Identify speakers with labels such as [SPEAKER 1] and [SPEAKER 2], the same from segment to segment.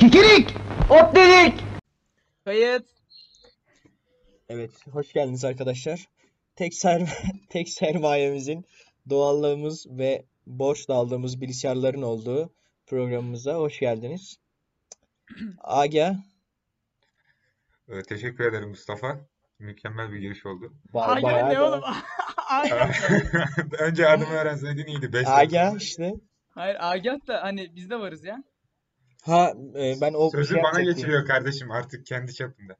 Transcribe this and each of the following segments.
[SPEAKER 1] Kirik! Ot dedik!
[SPEAKER 2] Kayıt.
[SPEAKER 3] Evet, hoş geldiniz arkadaşlar. Tek serv tek sermayemizin doğallığımız ve borçla aldığımız bilgisayarların olduğu programımıza hoş geldiniz. Aga,
[SPEAKER 4] Ee, teşekkür ederim Mustafa. Mükemmel bir giriş oldu.
[SPEAKER 3] ba-
[SPEAKER 2] Aga
[SPEAKER 3] bayağı
[SPEAKER 2] ne
[SPEAKER 3] da-
[SPEAKER 2] oğlum? Aga.
[SPEAKER 4] Önce adımı öğrenseydin iyiydi. Beş
[SPEAKER 3] Aga
[SPEAKER 4] dakika.
[SPEAKER 3] işte.
[SPEAKER 2] Hayır Agah da hani biz de varız ya.
[SPEAKER 3] Ha e, ben o
[SPEAKER 4] Sözü
[SPEAKER 3] şey
[SPEAKER 4] bana
[SPEAKER 3] yapacaktım.
[SPEAKER 4] geçiriyor kardeşim artık kendi çapında.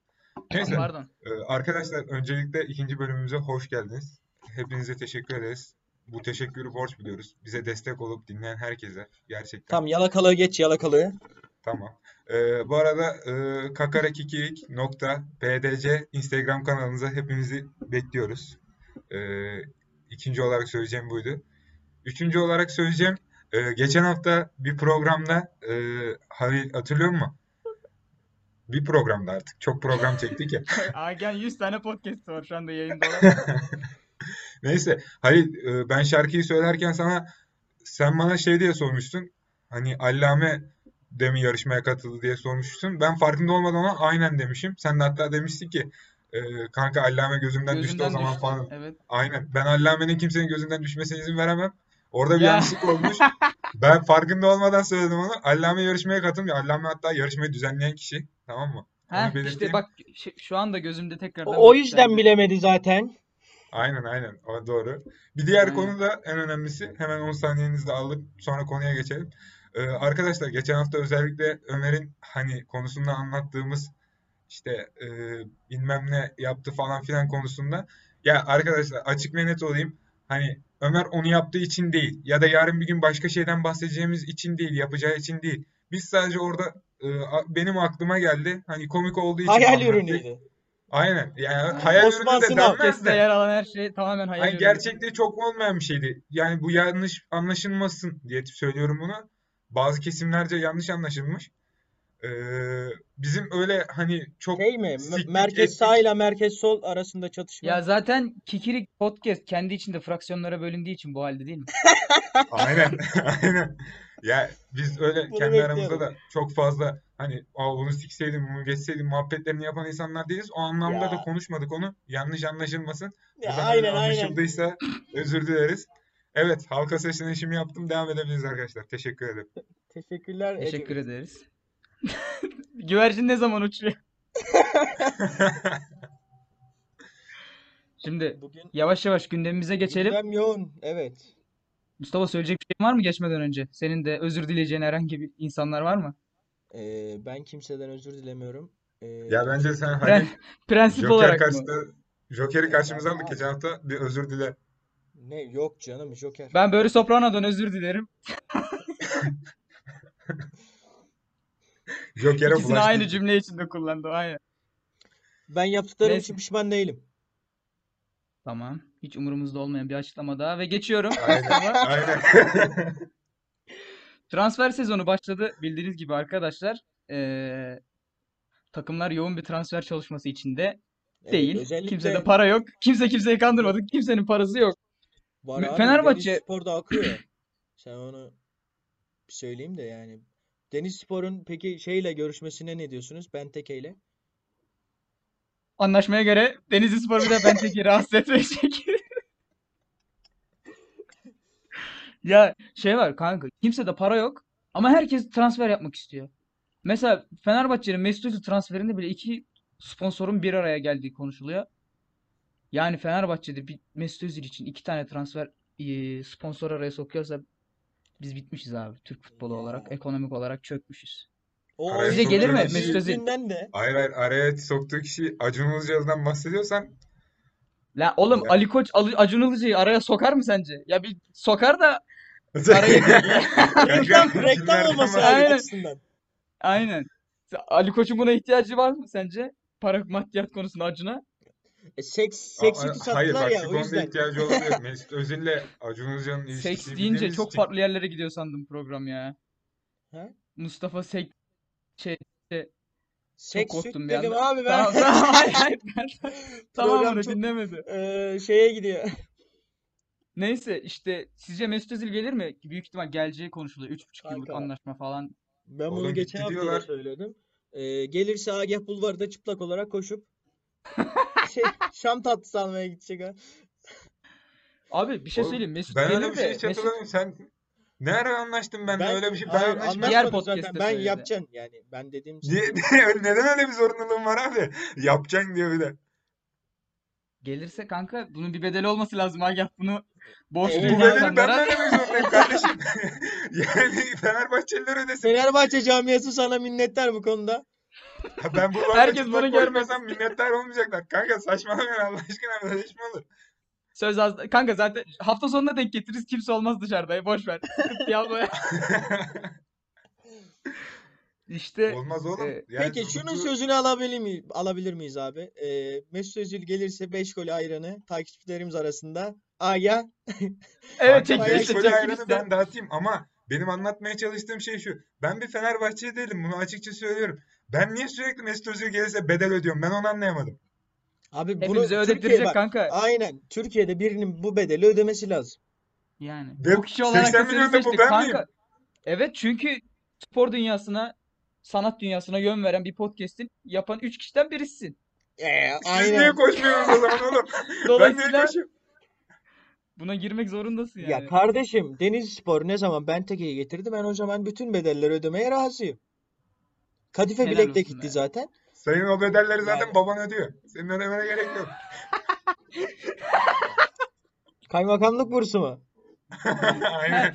[SPEAKER 4] Neyse,
[SPEAKER 2] Pardon.
[SPEAKER 4] e, arkadaşlar öncelikle ikinci bölümümüze hoş geldiniz. Hepinize teşekkür ederiz. Bu teşekkürü borç biliyoruz. Bize destek olup dinleyen herkese gerçekten.
[SPEAKER 3] Tamam yalakalığı geç yalakalığı.
[SPEAKER 4] Tamam. Ee, bu arada e, kakarakikirik.pdc Instagram kanalınıza hepinizi bekliyoruz. Ee, ikinci olarak söyleyeceğim buydu. Üçüncü olarak söyleyeceğim. e, geçen hafta bir programda e, Halil hatırlıyor musun? Bir programda artık. Çok program çektik ya.
[SPEAKER 2] Agah 100 tane podcast var şu anda yayında olan.
[SPEAKER 4] Neyse. Halil e, ben şarkıyı söylerken sana sen bana şey diye sormuştun. Hani Allame de mi yarışmaya katıldı diye sormuştun. Ben farkında olmadan ona aynen demişim. Sen de hatta demiştin ki e, kanka Allame gözümden düştü o
[SPEAKER 2] Gözümden
[SPEAKER 4] zaman
[SPEAKER 2] düştü.
[SPEAKER 4] falan.
[SPEAKER 2] Evet.
[SPEAKER 4] Aynen. Ben Allame'nin kimsenin gözünden düşmesine izin veremem. Orada bir
[SPEAKER 2] Ya.
[SPEAKER 4] yanlışlık olmuş. Ben farkında olmadan söyledim onu. Allame yarışmaya katılmıyor. Allame hatta yarışmayı düzenleyen kişi. Tamam mı? Onu
[SPEAKER 2] Ha işte
[SPEAKER 4] belirteyim.
[SPEAKER 2] bak şu- şu anda gözümde tekrardan.
[SPEAKER 3] O, o
[SPEAKER 2] bak-
[SPEAKER 3] yüzden bilemedi zaten.
[SPEAKER 4] Aynen aynen. O doğru. Bir diğer
[SPEAKER 2] Aynen.
[SPEAKER 4] konu da en önemlisi. Hemen 10 saniyenizi de alıp sonra konuya geçelim. Ee, arkadaşlar geçen hafta özellikle Ömer'in hani konusunda anlattığımız işte e, bilmem ne yaptı falan filan konusunda. Ya arkadaşlar açık ve net olayım. Hani Ömer onu yaptığı için değil ya da yarın bir gün başka şeyden bahsedeceğimiz için değil, yapacağı için değil. Biz sadece orada e, a- benim aklıma geldi. Hani komik olduğu için
[SPEAKER 3] Hayal
[SPEAKER 4] anlattık.
[SPEAKER 3] ürünüydü.
[SPEAKER 4] Aynen. Yani hayal ürünü
[SPEAKER 3] Osman
[SPEAKER 4] de
[SPEAKER 3] Sınav.
[SPEAKER 4] denmez
[SPEAKER 2] Podcast'te
[SPEAKER 4] de.
[SPEAKER 2] yer alan her şey tamamen hayal
[SPEAKER 4] Hani
[SPEAKER 2] ürünü.
[SPEAKER 4] gerçekte çok olmayan bir şeydi. Yani bu yanlış anlaşılmasın diye söylüyorum bunu. Bazı kesimlerce yanlış anlaşılmış. Ee, bizim öyle hani çok
[SPEAKER 3] Şey mi?
[SPEAKER 4] siktik
[SPEAKER 3] M- merkez sağ
[SPEAKER 4] ettik.
[SPEAKER 3] ile merkez sol arasında çatışma.
[SPEAKER 2] Ya zaten Kikirik Podcast kendi içinde fraksiyonlara bölündüğü için bu halde değil mi?
[SPEAKER 4] Aynen, aynen. Ya biz öyle
[SPEAKER 3] Bunu
[SPEAKER 4] kendi aramızda da
[SPEAKER 3] bekliyorum.
[SPEAKER 4] çok fazla hani "Aa, bunu sikseydim, bunu geçseydim muhabbetlerini yapan insanlar değiliz. O anlamda
[SPEAKER 3] Ya.
[SPEAKER 4] da konuşmadık onu. Yanlış anlaşılmasın.
[SPEAKER 3] Ya,
[SPEAKER 4] Buradan öyle
[SPEAKER 3] aynen aynen.
[SPEAKER 4] anlaşıldıysa özür dileriz. Evet, halka sesini işimi yaptım. Devam edebiliriz arkadaşlar. Teşekkür ederim.
[SPEAKER 3] Teşekkürler Ece.
[SPEAKER 2] Teşekkür ederiz. Güvercin ne zaman uçuyor? Şimdi
[SPEAKER 3] Bugün
[SPEAKER 2] yavaş yavaş gündemimize geçelim.
[SPEAKER 3] gündem yoğun. Evet.
[SPEAKER 2] Mustafa söyleyecek bir şeyin var mı geçmeden önce? Senin de özür dileyeceğin herhangi bir insanlar var mı?
[SPEAKER 3] Ee, ben kimseden özür dilemiyorum. Ee,
[SPEAKER 4] Ya bence sen
[SPEAKER 2] Pre-
[SPEAKER 4] hani
[SPEAKER 2] prensip
[SPEAKER 4] Joker
[SPEAKER 2] olarak mı?
[SPEAKER 4] karşısında Joker'i karşımıza aldık geçen hafta. Bir özür dile.
[SPEAKER 3] ne yok canım Joker.
[SPEAKER 2] Ben Barry Soprano'dan özür dilerim.
[SPEAKER 4] Joker'e
[SPEAKER 2] İkisini
[SPEAKER 4] bulaştık.
[SPEAKER 2] aynı cümle içinde kullandım. Aynen.
[SPEAKER 3] Ben yaptıklarım
[SPEAKER 2] Neyse.
[SPEAKER 3] için pişman değilim.
[SPEAKER 2] Tamam. Hiç umurumuzda olmayan bir açıklama daha ve geçiyorum.
[SPEAKER 4] Aynen.
[SPEAKER 2] Mustafa.
[SPEAKER 4] Aynen.
[SPEAKER 2] Transfer sezonu başladı bildiğiniz gibi arkadaşlar. Ee, takımlar yoğun bir transfer çalışması içinde
[SPEAKER 3] Evet,
[SPEAKER 2] değil.
[SPEAKER 3] özellikle
[SPEAKER 2] Kimsede para yok. Kimse kimseyi kandırmadı. Kimsenin parası yok.
[SPEAKER 3] var abi,
[SPEAKER 2] Fenerbahçe-
[SPEAKER 3] Denizlispor'da akıyor. Sen onu bir söyleyeyim de yani. Denizlispor'un peki şeyle görüşmesine ne diyorsunuz? Benteke'yle.
[SPEAKER 2] Anlaşmaya göre Denizlispor bir de Bentek'i rahatsız etmeyecek. Ya şey var kanka kimse de para yok ama herkes transfer yapmak istiyor. Mesela Fenerbahçe'nin Mesut Özil transferinde bile iki sponsorun bir araya geldiği konuşuluyor. Yani Fenerbahçe'de bir Mesut Özil için iki tane transfer e, sponsor araya sokuyorsa biz bitmişiz abi Türk futbolu olarak, ekonomik olarak çökmüşüz.
[SPEAKER 3] O
[SPEAKER 4] Araya
[SPEAKER 2] Bize gelir mi
[SPEAKER 4] soktuğu kişi-
[SPEAKER 2] Mesut Özil?
[SPEAKER 3] Yüzünden de.
[SPEAKER 4] Hayır hayır. Araya soktuğu kişi Acun Ilıcalı'dan bahsediyorsan
[SPEAKER 2] La oğlum
[SPEAKER 4] Ya.
[SPEAKER 2] Ali Koç Ali- Acun Ilıcalı'yı araya sokar mı sence? Ya bir sokar da araya
[SPEAKER 3] Reklam, reklam olması
[SPEAKER 2] Aynen.
[SPEAKER 3] lazım açısından.
[SPEAKER 2] Aynen. Sen- Ali Koç'un buna ihtiyacı var mı sence? Para maddiyat konusunda Acun'a.
[SPEAKER 3] E, seks, seksiti
[SPEAKER 4] Hayır
[SPEAKER 3] sattılar
[SPEAKER 4] bak
[SPEAKER 3] ya
[SPEAKER 4] şu
[SPEAKER 3] o
[SPEAKER 4] konuda
[SPEAKER 3] yüzden.
[SPEAKER 4] ihtiyacı olabilir. Mesut Özil'le Acun Ilıcalı'nın ilişkisi
[SPEAKER 2] Seks
[SPEAKER 4] bildiğimiz
[SPEAKER 2] deyince çok
[SPEAKER 4] için.
[SPEAKER 2] farklı yerlere gidiyor sandım program ya.
[SPEAKER 3] He?
[SPEAKER 2] Mustafa Sek şey
[SPEAKER 3] Seks
[SPEAKER 2] korktum
[SPEAKER 3] süt
[SPEAKER 2] bir
[SPEAKER 3] dedim
[SPEAKER 2] anda.
[SPEAKER 3] abi ben.
[SPEAKER 2] tamam tamam hayır hayır ben tamam
[SPEAKER 3] Program
[SPEAKER 2] bunu
[SPEAKER 3] çok
[SPEAKER 2] dinlemedi.
[SPEAKER 3] eee, şeye gidiyor.
[SPEAKER 2] Neyse işte sizce Mesut Özil gelir mi? Büyük ihtimal geleceği konuşuluyor. 3,5 yıllık
[SPEAKER 3] Kanka.
[SPEAKER 2] anlaşma falan
[SPEAKER 3] Ben bunu
[SPEAKER 4] Oğlum
[SPEAKER 3] geçen
[SPEAKER 4] gitti
[SPEAKER 3] hafta da
[SPEAKER 4] diyorlar.
[SPEAKER 3] söyledim. Ee, gelirse Agah Bulvarı'da çıplak olarak koşup şey, Şam tatlısı almaya gidecek ha.
[SPEAKER 2] Abi bir şey
[SPEAKER 4] Oğlum,
[SPEAKER 2] söyleyeyim. Mesut
[SPEAKER 4] Ben öyle
[SPEAKER 2] gelir
[SPEAKER 4] bir şey
[SPEAKER 2] de
[SPEAKER 4] hiç
[SPEAKER 2] Mesut
[SPEAKER 4] hatırlamıyorum. Sen ne ara anlaştın benimle
[SPEAKER 3] Ben
[SPEAKER 4] öyle bir şey? Ben
[SPEAKER 3] hayır
[SPEAKER 4] anlaşmadım.
[SPEAKER 2] Diğer
[SPEAKER 3] anlaşmadık zaten.
[SPEAKER 2] podcast'te
[SPEAKER 3] Ben
[SPEAKER 2] söyledi.
[SPEAKER 3] yapacağım yani. Ben dediğim şey.
[SPEAKER 4] Niye- niye- neden öyle bir zorunluluğun var abi? Yapacaksın diyor bir de.
[SPEAKER 2] gelirse kanka bunun bir bedeli olması lazım. Agah bunu borçlu
[SPEAKER 3] Evet,
[SPEAKER 4] Bu
[SPEAKER 3] abi.
[SPEAKER 4] bedeli ben
[SPEAKER 2] insanlara.
[SPEAKER 4] vermek zorundayım kardeşim. yani Fenerbahçeliler ödesin.
[SPEAKER 3] Fenerbahçe camiası sana minnettar bu konuda.
[SPEAKER 4] Ya Ben bu
[SPEAKER 2] Herkes
[SPEAKER 4] Fenerbahçe
[SPEAKER 2] bunu
[SPEAKER 4] futbol
[SPEAKER 2] görmek
[SPEAKER 4] oynasam minnettar olmayacaklar. Kanka saçmalamayın Allah aşkına böyle iş mi olur?
[SPEAKER 2] Söz az. Kanka zaten hafta sonuna denk getiririz. Kimse olmaz dışarıda. Boş ver. Sıkıntı yapma. İşte
[SPEAKER 4] Olmaz oğlum.
[SPEAKER 2] e,
[SPEAKER 4] Yani
[SPEAKER 3] Peki şunun
[SPEAKER 4] sonucu-
[SPEAKER 3] sözünü alabilir mi alabilir miyiz abi? Ee, Mesut Özil gelirse 5 gol ayranı takipçilerimiz arasında. Agah
[SPEAKER 2] evet
[SPEAKER 4] Kanka,
[SPEAKER 2] çekilişte
[SPEAKER 4] Meşgul'ü ayranı
[SPEAKER 2] çekilişte.
[SPEAKER 4] ben dağıtayım ama benim anlatmaya çalıştığım şey şu. Ben bir Fenerbahçeli değilim bunu açıkça söylüyorum. Ben niye sürekli Mesut Özil gelirse bedel ödüyorum? Ben onu anlayamadım.
[SPEAKER 3] Abi bunu
[SPEAKER 2] Hepimize
[SPEAKER 3] Türkiye
[SPEAKER 2] ödettirecek
[SPEAKER 3] bak.
[SPEAKER 2] kanka.
[SPEAKER 3] Aynen. Türkiye'de birinin bu bedeli ödemesi lazım.
[SPEAKER 2] Yani
[SPEAKER 4] Ve
[SPEAKER 2] bu kişi olarak
[SPEAKER 4] 80
[SPEAKER 2] da
[SPEAKER 4] milyon
[SPEAKER 2] seni
[SPEAKER 4] da bu
[SPEAKER 2] seçtik
[SPEAKER 4] ben
[SPEAKER 2] kanka.
[SPEAKER 4] miyim?
[SPEAKER 2] Evet çünkü spor dünyasına, sanat dünyasına yön veren bir podcast'in yapan 3 kişiden birisin.
[SPEAKER 3] Ee,
[SPEAKER 4] Siz
[SPEAKER 3] aynen.
[SPEAKER 4] niye koşmuyorsunuz o zaman oğlum? Ben niye
[SPEAKER 2] Dolayısıyla
[SPEAKER 4] koşuyorum?
[SPEAKER 2] buna girmek zorundasın
[SPEAKER 3] Ya
[SPEAKER 2] yani.
[SPEAKER 3] kardeşim Denizlispor ne zaman Benteke'yi getirdi ben o zaman bütün bedelleri ödemeye razıyım. Kadife
[SPEAKER 2] Helal
[SPEAKER 3] Bilek de
[SPEAKER 2] olsun
[SPEAKER 3] gitti
[SPEAKER 2] be.
[SPEAKER 3] zaten.
[SPEAKER 4] Sayın o bedelleri zaten
[SPEAKER 3] Yani.
[SPEAKER 4] baban ödüyor. Senin ödemene gerek yok.
[SPEAKER 3] Kaymakamlık bursu mu?
[SPEAKER 4] Aynen.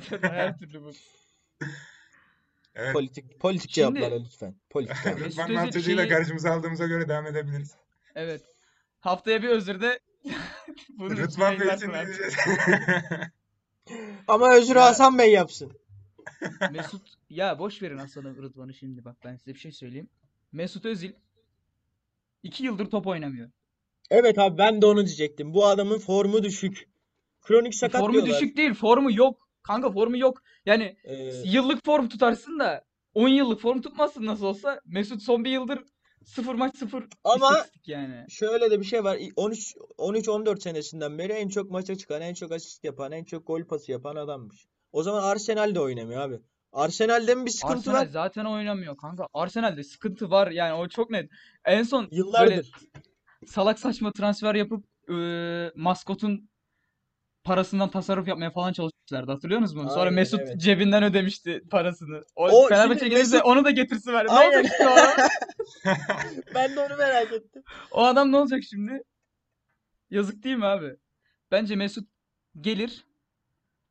[SPEAKER 2] Her türlü, her türlü bu.
[SPEAKER 4] Evet.
[SPEAKER 3] Politik politik
[SPEAKER 2] Şimdi-
[SPEAKER 3] cevaplara lütfen. Politik cevaplara.
[SPEAKER 2] Mesut Özil
[SPEAKER 4] Rıdvan Mantıcı'yla
[SPEAKER 2] şeyi-
[SPEAKER 4] karşımıza aldığımıza göre devam edebiliriz.
[SPEAKER 2] Evet. Haftaya bir özür de bunun için
[SPEAKER 4] Rıdvan Bey
[SPEAKER 2] yayınlarsın
[SPEAKER 4] için
[SPEAKER 2] artık.
[SPEAKER 4] diyeceğiz.
[SPEAKER 3] Ama özür
[SPEAKER 2] Ya-
[SPEAKER 3] Hasan Bey yapsın.
[SPEAKER 2] Mesut ya boş verin Hasan'ı Rıdvan'ı şimdi bak ben size bir şey söyleyeyim. Mesut Özil 2 yıldır top oynamıyor.
[SPEAKER 3] Evet abi ben de onu diyecektim. Bu adamın formu düşük. Kronik sakat
[SPEAKER 2] E, Formu
[SPEAKER 3] diyorlar.
[SPEAKER 2] düşük değil, formu yok. Kanka formu yok. Yani
[SPEAKER 3] Ee,
[SPEAKER 2] yıllık form tutarsın da 10 yıllık form tutmazsın nasıl olsa. Mesut son bir yıldır sıfır maç sıfır
[SPEAKER 3] Ama-
[SPEAKER 2] istatistik yani.
[SPEAKER 3] şöyle de bir şey var. 13 13 14 senesinden beri en çok maça çıkan, en çok asist yapan, en çok gol pası yapan adammış. O zaman Arsenal'de oynamıyor abi. Arsenal'de mi bir sıkıntı
[SPEAKER 2] Arsenal
[SPEAKER 3] var?
[SPEAKER 2] zaten oynamıyor kanka. Arsenal'de sıkıntı var yani o çok net. En son
[SPEAKER 3] Yıllardır.
[SPEAKER 2] salak saçma transfer yapıp eee, maskotun parasından tasarruf yapmaya falan çalışmışlardı. Hatırlıyor musunuz? Sonra
[SPEAKER 3] Aynen,
[SPEAKER 2] Mesut
[SPEAKER 3] evet.
[SPEAKER 2] cebinden ödemişti parasını. O
[SPEAKER 3] O
[SPEAKER 2] Fenerbahçe
[SPEAKER 3] şimdi
[SPEAKER 2] gelirse
[SPEAKER 3] Mesut-
[SPEAKER 2] onu da getirsin var. Ne
[SPEAKER 3] Aynen.
[SPEAKER 2] olacak şimdi o adam?
[SPEAKER 3] Ben de onu merak ettim.
[SPEAKER 2] O adam ne olacak şimdi? Yazık değil mi abi? Bence Mesut gelir,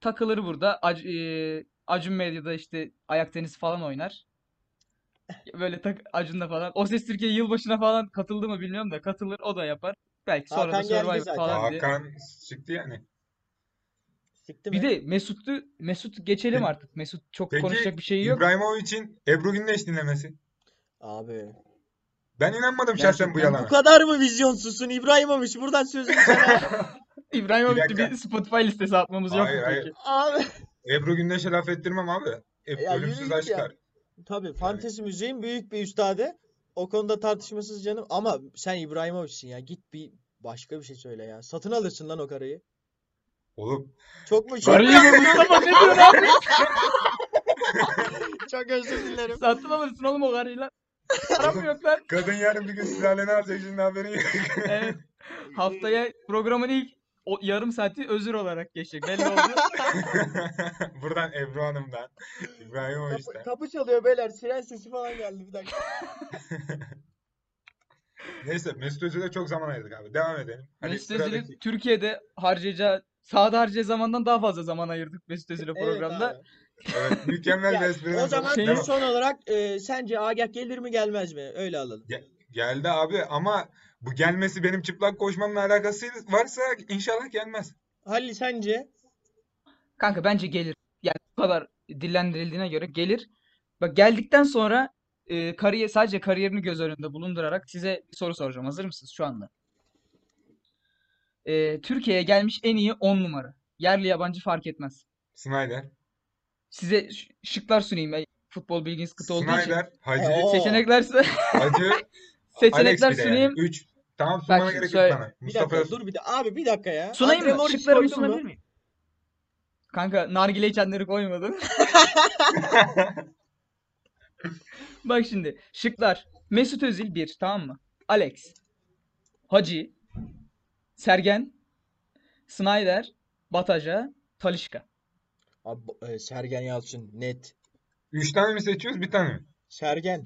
[SPEAKER 2] takılır burada. Ac eee, Acun Medya'da işte ayak tenisi falan oynar. Böyle tak Acun'da falan. O Ses Türkiye yılbaşına falan katıldı mı bilmiyorum da katılır o da yapar. Belki sonra da
[SPEAKER 3] Hakan geldi
[SPEAKER 2] Survivor
[SPEAKER 3] zaten.
[SPEAKER 2] falan diye.
[SPEAKER 4] Hakan çıktı yani.
[SPEAKER 3] Siktim
[SPEAKER 2] Bir
[SPEAKER 3] ya.
[SPEAKER 2] de Mesut'u Mesut geçelim artık. Mesut çok
[SPEAKER 4] Peki
[SPEAKER 2] konuşacak bir şey yok.
[SPEAKER 4] İbrahimovic'in Ebru Gündeş dinlemesi.
[SPEAKER 3] Abi.
[SPEAKER 4] Ben inanmadım şahsen bu
[SPEAKER 2] Gerçekten
[SPEAKER 4] yalana.
[SPEAKER 3] Bu kadar mı vizyonsuzsun İbrahimovic? Buradan sözünü sana.
[SPEAKER 2] İbrahim
[SPEAKER 4] Bir
[SPEAKER 2] bitti
[SPEAKER 4] dakika.
[SPEAKER 2] bir Spotify listesi atmamız yok mu
[SPEAKER 4] Hayır,
[SPEAKER 2] peki?
[SPEAKER 4] hayır.
[SPEAKER 3] Abi.
[SPEAKER 4] Ebru Gündeş'e laf ettirmem abi. E,
[SPEAKER 3] Ya yürü
[SPEAKER 4] ölümsüz
[SPEAKER 3] git ya.
[SPEAKER 4] aşklar.
[SPEAKER 3] Tabii fantezi müziğin büyük bir üstadı. O konuda tartışmasız canım. Ama sen İbrahimovic'sin ya. Git bir başka bir şey söyle ya. Satın alırsın lan o karıyı.
[SPEAKER 4] Oğlum.
[SPEAKER 3] Çok mu? Çok,
[SPEAKER 2] Karıyı mı Mustafa ne diyorsun abi?
[SPEAKER 3] çok özür dilerim.
[SPEAKER 2] Satın alırsın oğlum o karıyı lan. Param yok lan.
[SPEAKER 4] Kadın yarın bir gün sülaleni alacak şimdi haberin yok.
[SPEAKER 2] Evet. Haftaya programın ilk o yarım saati özür olarak geçecek. Belli oldu.
[SPEAKER 4] Buradan Ebru Hanım'dan,
[SPEAKER 3] Kapı,
[SPEAKER 4] İbrahimovic'den.
[SPEAKER 3] kapı çalıyor beyler. Siren sesi falan geldi bir dakika.
[SPEAKER 4] Neyse Mesut Özil'e çok zaman ayırdık abi. Devam edelim. Hadi
[SPEAKER 2] Mesut
[SPEAKER 4] sıradaki-
[SPEAKER 2] Özil'i Türkiye'de harcayacağı, sahada harcayacağı zamandan daha fazla zaman ayırdık Mesut Özil'e
[SPEAKER 3] Evet
[SPEAKER 2] programda.
[SPEAKER 3] abi.
[SPEAKER 4] Evet, mükemmel
[SPEAKER 3] Ya,
[SPEAKER 4] bir espri
[SPEAKER 3] O
[SPEAKER 4] yapalım.
[SPEAKER 3] zaman
[SPEAKER 2] Şey-
[SPEAKER 4] Devam.
[SPEAKER 3] son olarak e, sence Agah gelir mi gelmez mi? Öyle alalım.
[SPEAKER 4] Geldi abi ama bu gelmesi benim çıplak koşmamla alakası varsa inşallah gelmez.
[SPEAKER 3] Halil sence?
[SPEAKER 2] Kanka bence gelir. Yani bu kadar dillendirildiğine göre gelir. Bak geldikten sonra e, kariyer sadece kariyerini göz önünde bulundurarak size bir soru soracağım. Hazır mısınız şu anda? E, Türkiye'ye gelmiş en iyi 10 numara. Yerli yabancı fark etmez.
[SPEAKER 4] Snyder,
[SPEAKER 2] Size ş- şıklar sunayım. Ben futbol bilginiz kıt olduğu için.
[SPEAKER 4] Snyder, Hacı,
[SPEAKER 3] E, o-
[SPEAKER 2] Seçenekler
[SPEAKER 4] Hacı,
[SPEAKER 2] seçenekler
[SPEAKER 4] Alex bile yani.
[SPEAKER 2] sunayım.
[SPEAKER 4] 3. Tamam sunmana
[SPEAKER 2] şimdi
[SPEAKER 4] gerek yok
[SPEAKER 2] söyle.
[SPEAKER 4] bana.
[SPEAKER 3] Bir
[SPEAKER 4] Mustafa
[SPEAKER 3] dakika dur bir de abi bir dakika ya.
[SPEAKER 2] Sunayım
[SPEAKER 3] Andre
[SPEAKER 2] mı?
[SPEAKER 3] Morris'i
[SPEAKER 2] Şıklarımı
[SPEAKER 3] koydun mu?
[SPEAKER 2] sunabilir miyim? Kanka nargile içenleri koymadım. Bak şimdi şıklar. Mesut Özil 1 tamam mı? Alex. Hacı. Sergen. Snyder. Bataja. Talişka.
[SPEAKER 3] Abi, bu- e, Sergen Yalçın net.
[SPEAKER 4] Üç tane mi seçiyoruz, bir tane mi?
[SPEAKER 3] Sergen.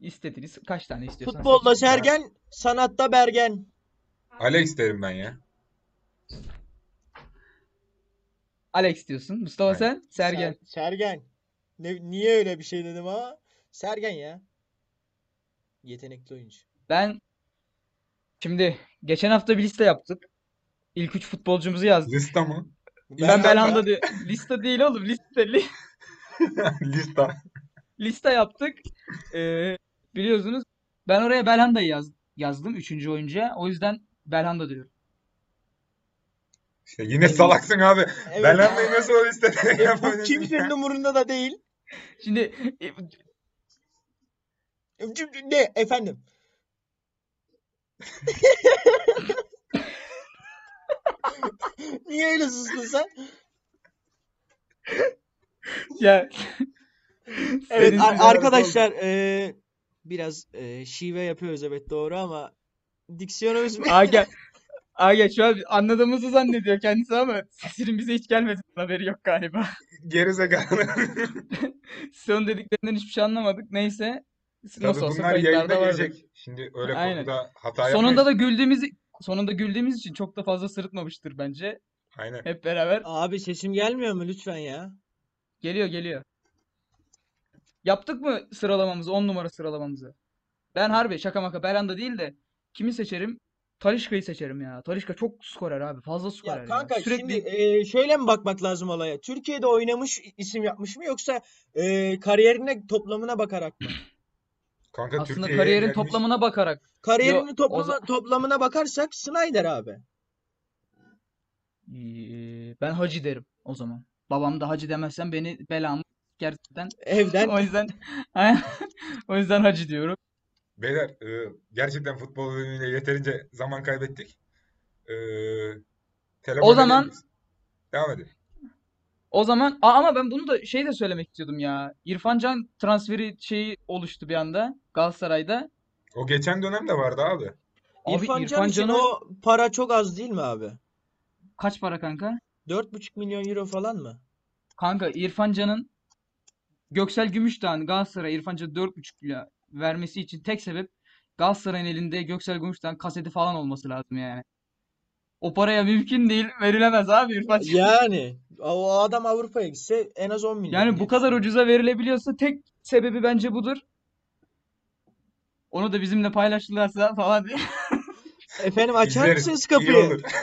[SPEAKER 2] İstediğiniz kaç tane istiyorsan
[SPEAKER 3] Futbolda
[SPEAKER 2] seçin.
[SPEAKER 3] Sergen, sanatta Bergen.
[SPEAKER 4] Alex derim ben ya.
[SPEAKER 2] Alex diyorsun. Mustafa
[SPEAKER 4] Aynen.
[SPEAKER 2] sen Sergen.
[SPEAKER 3] Ser- Sergen. Ne- niye öyle bir şey dedim ama? Sergen ya. Yetenekli oyuncu.
[SPEAKER 2] Ben şimdi geçen hafta bir liste yaptık. İlk 3 futbolcumuzu yazdık.
[SPEAKER 4] Lista mı?
[SPEAKER 2] Ben
[SPEAKER 3] Ben-
[SPEAKER 2] Belhanda diyor. Liste değil oğlum. Liste, li-
[SPEAKER 4] Lista.
[SPEAKER 2] liste yaptık. Ee, biliyorsunuz ben oraya Belhanda'yı yaz, yazdım 3. oyuncuya. O yüzden Belhanda diyorum.
[SPEAKER 4] İşte yine salaksın abi.
[SPEAKER 3] Evet.
[SPEAKER 4] Ben anlayayım nasıl o listede
[SPEAKER 3] E, bu
[SPEAKER 4] yapabilirsin
[SPEAKER 2] şey-
[SPEAKER 4] ya?
[SPEAKER 3] kimsenin umurunda da değil.
[SPEAKER 2] Şimdi e,
[SPEAKER 3] E, cüm- cüm- Ne efendim? Niye öyle sustun sen?
[SPEAKER 2] ya
[SPEAKER 3] Evet
[SPEAKER 2] Senin
[SPEAKER 3] ar-
[SPEAKER 4] güzel
[SPEAKER 3] arkadaşlar e, biraz e, şive yapıyoruz evet doğru ama diksiyonumuz
[SPEAKER 2] Aga Aga şu an anladığımızı zannediyor kendisi ama sesinin bize hiç gelmediğinin haberi yok galiba.
[SPEAKER 4] Gerizekalı.
[SPEAKER 2] Son dediklerinden hiçbir şey anlamadık. Neyse nasıl
[SPEAKER 4] Tabii
[SPEAKER 2] olsa
[SPEAKER 4] bunlar
[SPEAKER 2] kayıtlarda
[SPEAKER 4] yayında
[SPEAKER 2] vardı.
[SPEAKER 4] gelecek. Şimdi öyle
[SPEAKER 2] Aynen.
[SPEAKER 4] konuda hata
[SPEAKER 2] Sonunda
[SPEAKER 4] yapmayız.
[SPEAKER 2] da güldüğümüz sonunda güldüğümüz için çok da fazla sırıtmamıştır bence.
[SPEAKER 4] Aynen.
[SPEAKER 2] Hep beraber
[SPEAKER 3] Abi sesim gelmiyor mu lütfen ya?
[SPEAKER 2] geliyor geliyor. Yaptık mı sıralamamızı 10 numara sıralamamızı? Ben harbi şaka maka Belhanda değil de kimi seçerim? Talisca'yı seçerim ya. Talisca çok skorer abi. Fazla
[SPEAKER 3] Ya
[SPEAKER 2] skorer ya.
[SPEAKER 3] kanka
[SPEAKER 2] Sürekli
[SPEAKER 3] şimdi e, şöyle mi bakmak lazım olaya? Türkiye'de oynamış isim yapmış mı yoksa e, kariyerine toplamına bakarak mı?
[SPEAKER 4] Kanka
[SPEAKER 2] aslında
[SPEAKER 4] Türkiye'ye
[SPEAKER 2] kariyerin
[SPEAKER 4] gelmiş.
[SPEAKER 2] toplamına bakarak
[SPEAKER 3] Kariyerinin
[SPEAKER 2] Yo, o
[SPEAKER 3] toplama-
[SPEAKER 2] za-
[SPEAKER 3] toplamına bakarsak Snyder abi.
[SPEAKER 2] Ee, ben hacı derim o zaman. Babam da hacı demezsen beni belamı gerçekten.
[SPEAKER 3] Evden
[SPEAKER 2] O yüzden o yüzden hacı diyorum.
[SPEAKER 4] Beyler e, gerçekten futbol bölümüyle yeterince zaman kaybettik. E, telefon
[SPEAKER 2] O zaman-
[SPEAKER 4] edelim biz. Devam edelim.
[SPEAKER 2] O zaman Aa, ama ben bunu da şey de söylemek istiyordum ya. İrfan Can transferi şeyi oluştu bir anda Galatasaray'da.
[SPEAKER 4] O geçen dönem de vardı abi.
[SPEAKER 2] Abi
[SPEAKER 3] İrfan Can
[SPEAKER 2] İrfan
[SPEAKER 3] için
[SPEAKER 2] Can'a
[SPEAKER 3] o para çok az değil mi abi?
[SPEAKER 2] kaç para kanka?
[SPEAKER 3] 4,5 milyon euro falan mı?
[SPEAKER 2] Kanka İrfan Can'ın Göksel Gümüşdağ'ın Galatasaray'a İrfan Can'ı 4,5 lira vermesi için tek sebep Galatasaray'ın elinde Göksel Gümüşdağ'ın kaseti falan olması lazım yani. O paraya mümkün değil, verilemez abi İrfan Can.
[SPEAKER 3] Yani o adam Avrupa'ya gitse en az 10 milyon
[SPEAKER 2] Yani bu
[SPEAKER 3] diye
[SPEAKER 2] kadar
[SPEAKER 3] düşünüyorum.
[SPEAKER 2] ucuza verilebiliyorsa tek sebebi bence budur. Onu da bizimle paylaştılarsa falan diye.
[SPEAKER 3] Efendim açar
[SPEAKER 4] İzleriz.
[SPEAKER 3] mısınız
[SPEAKER 4] İyi
[SPEAKER 3] kapıyı?
[SPEAKER 4] olur.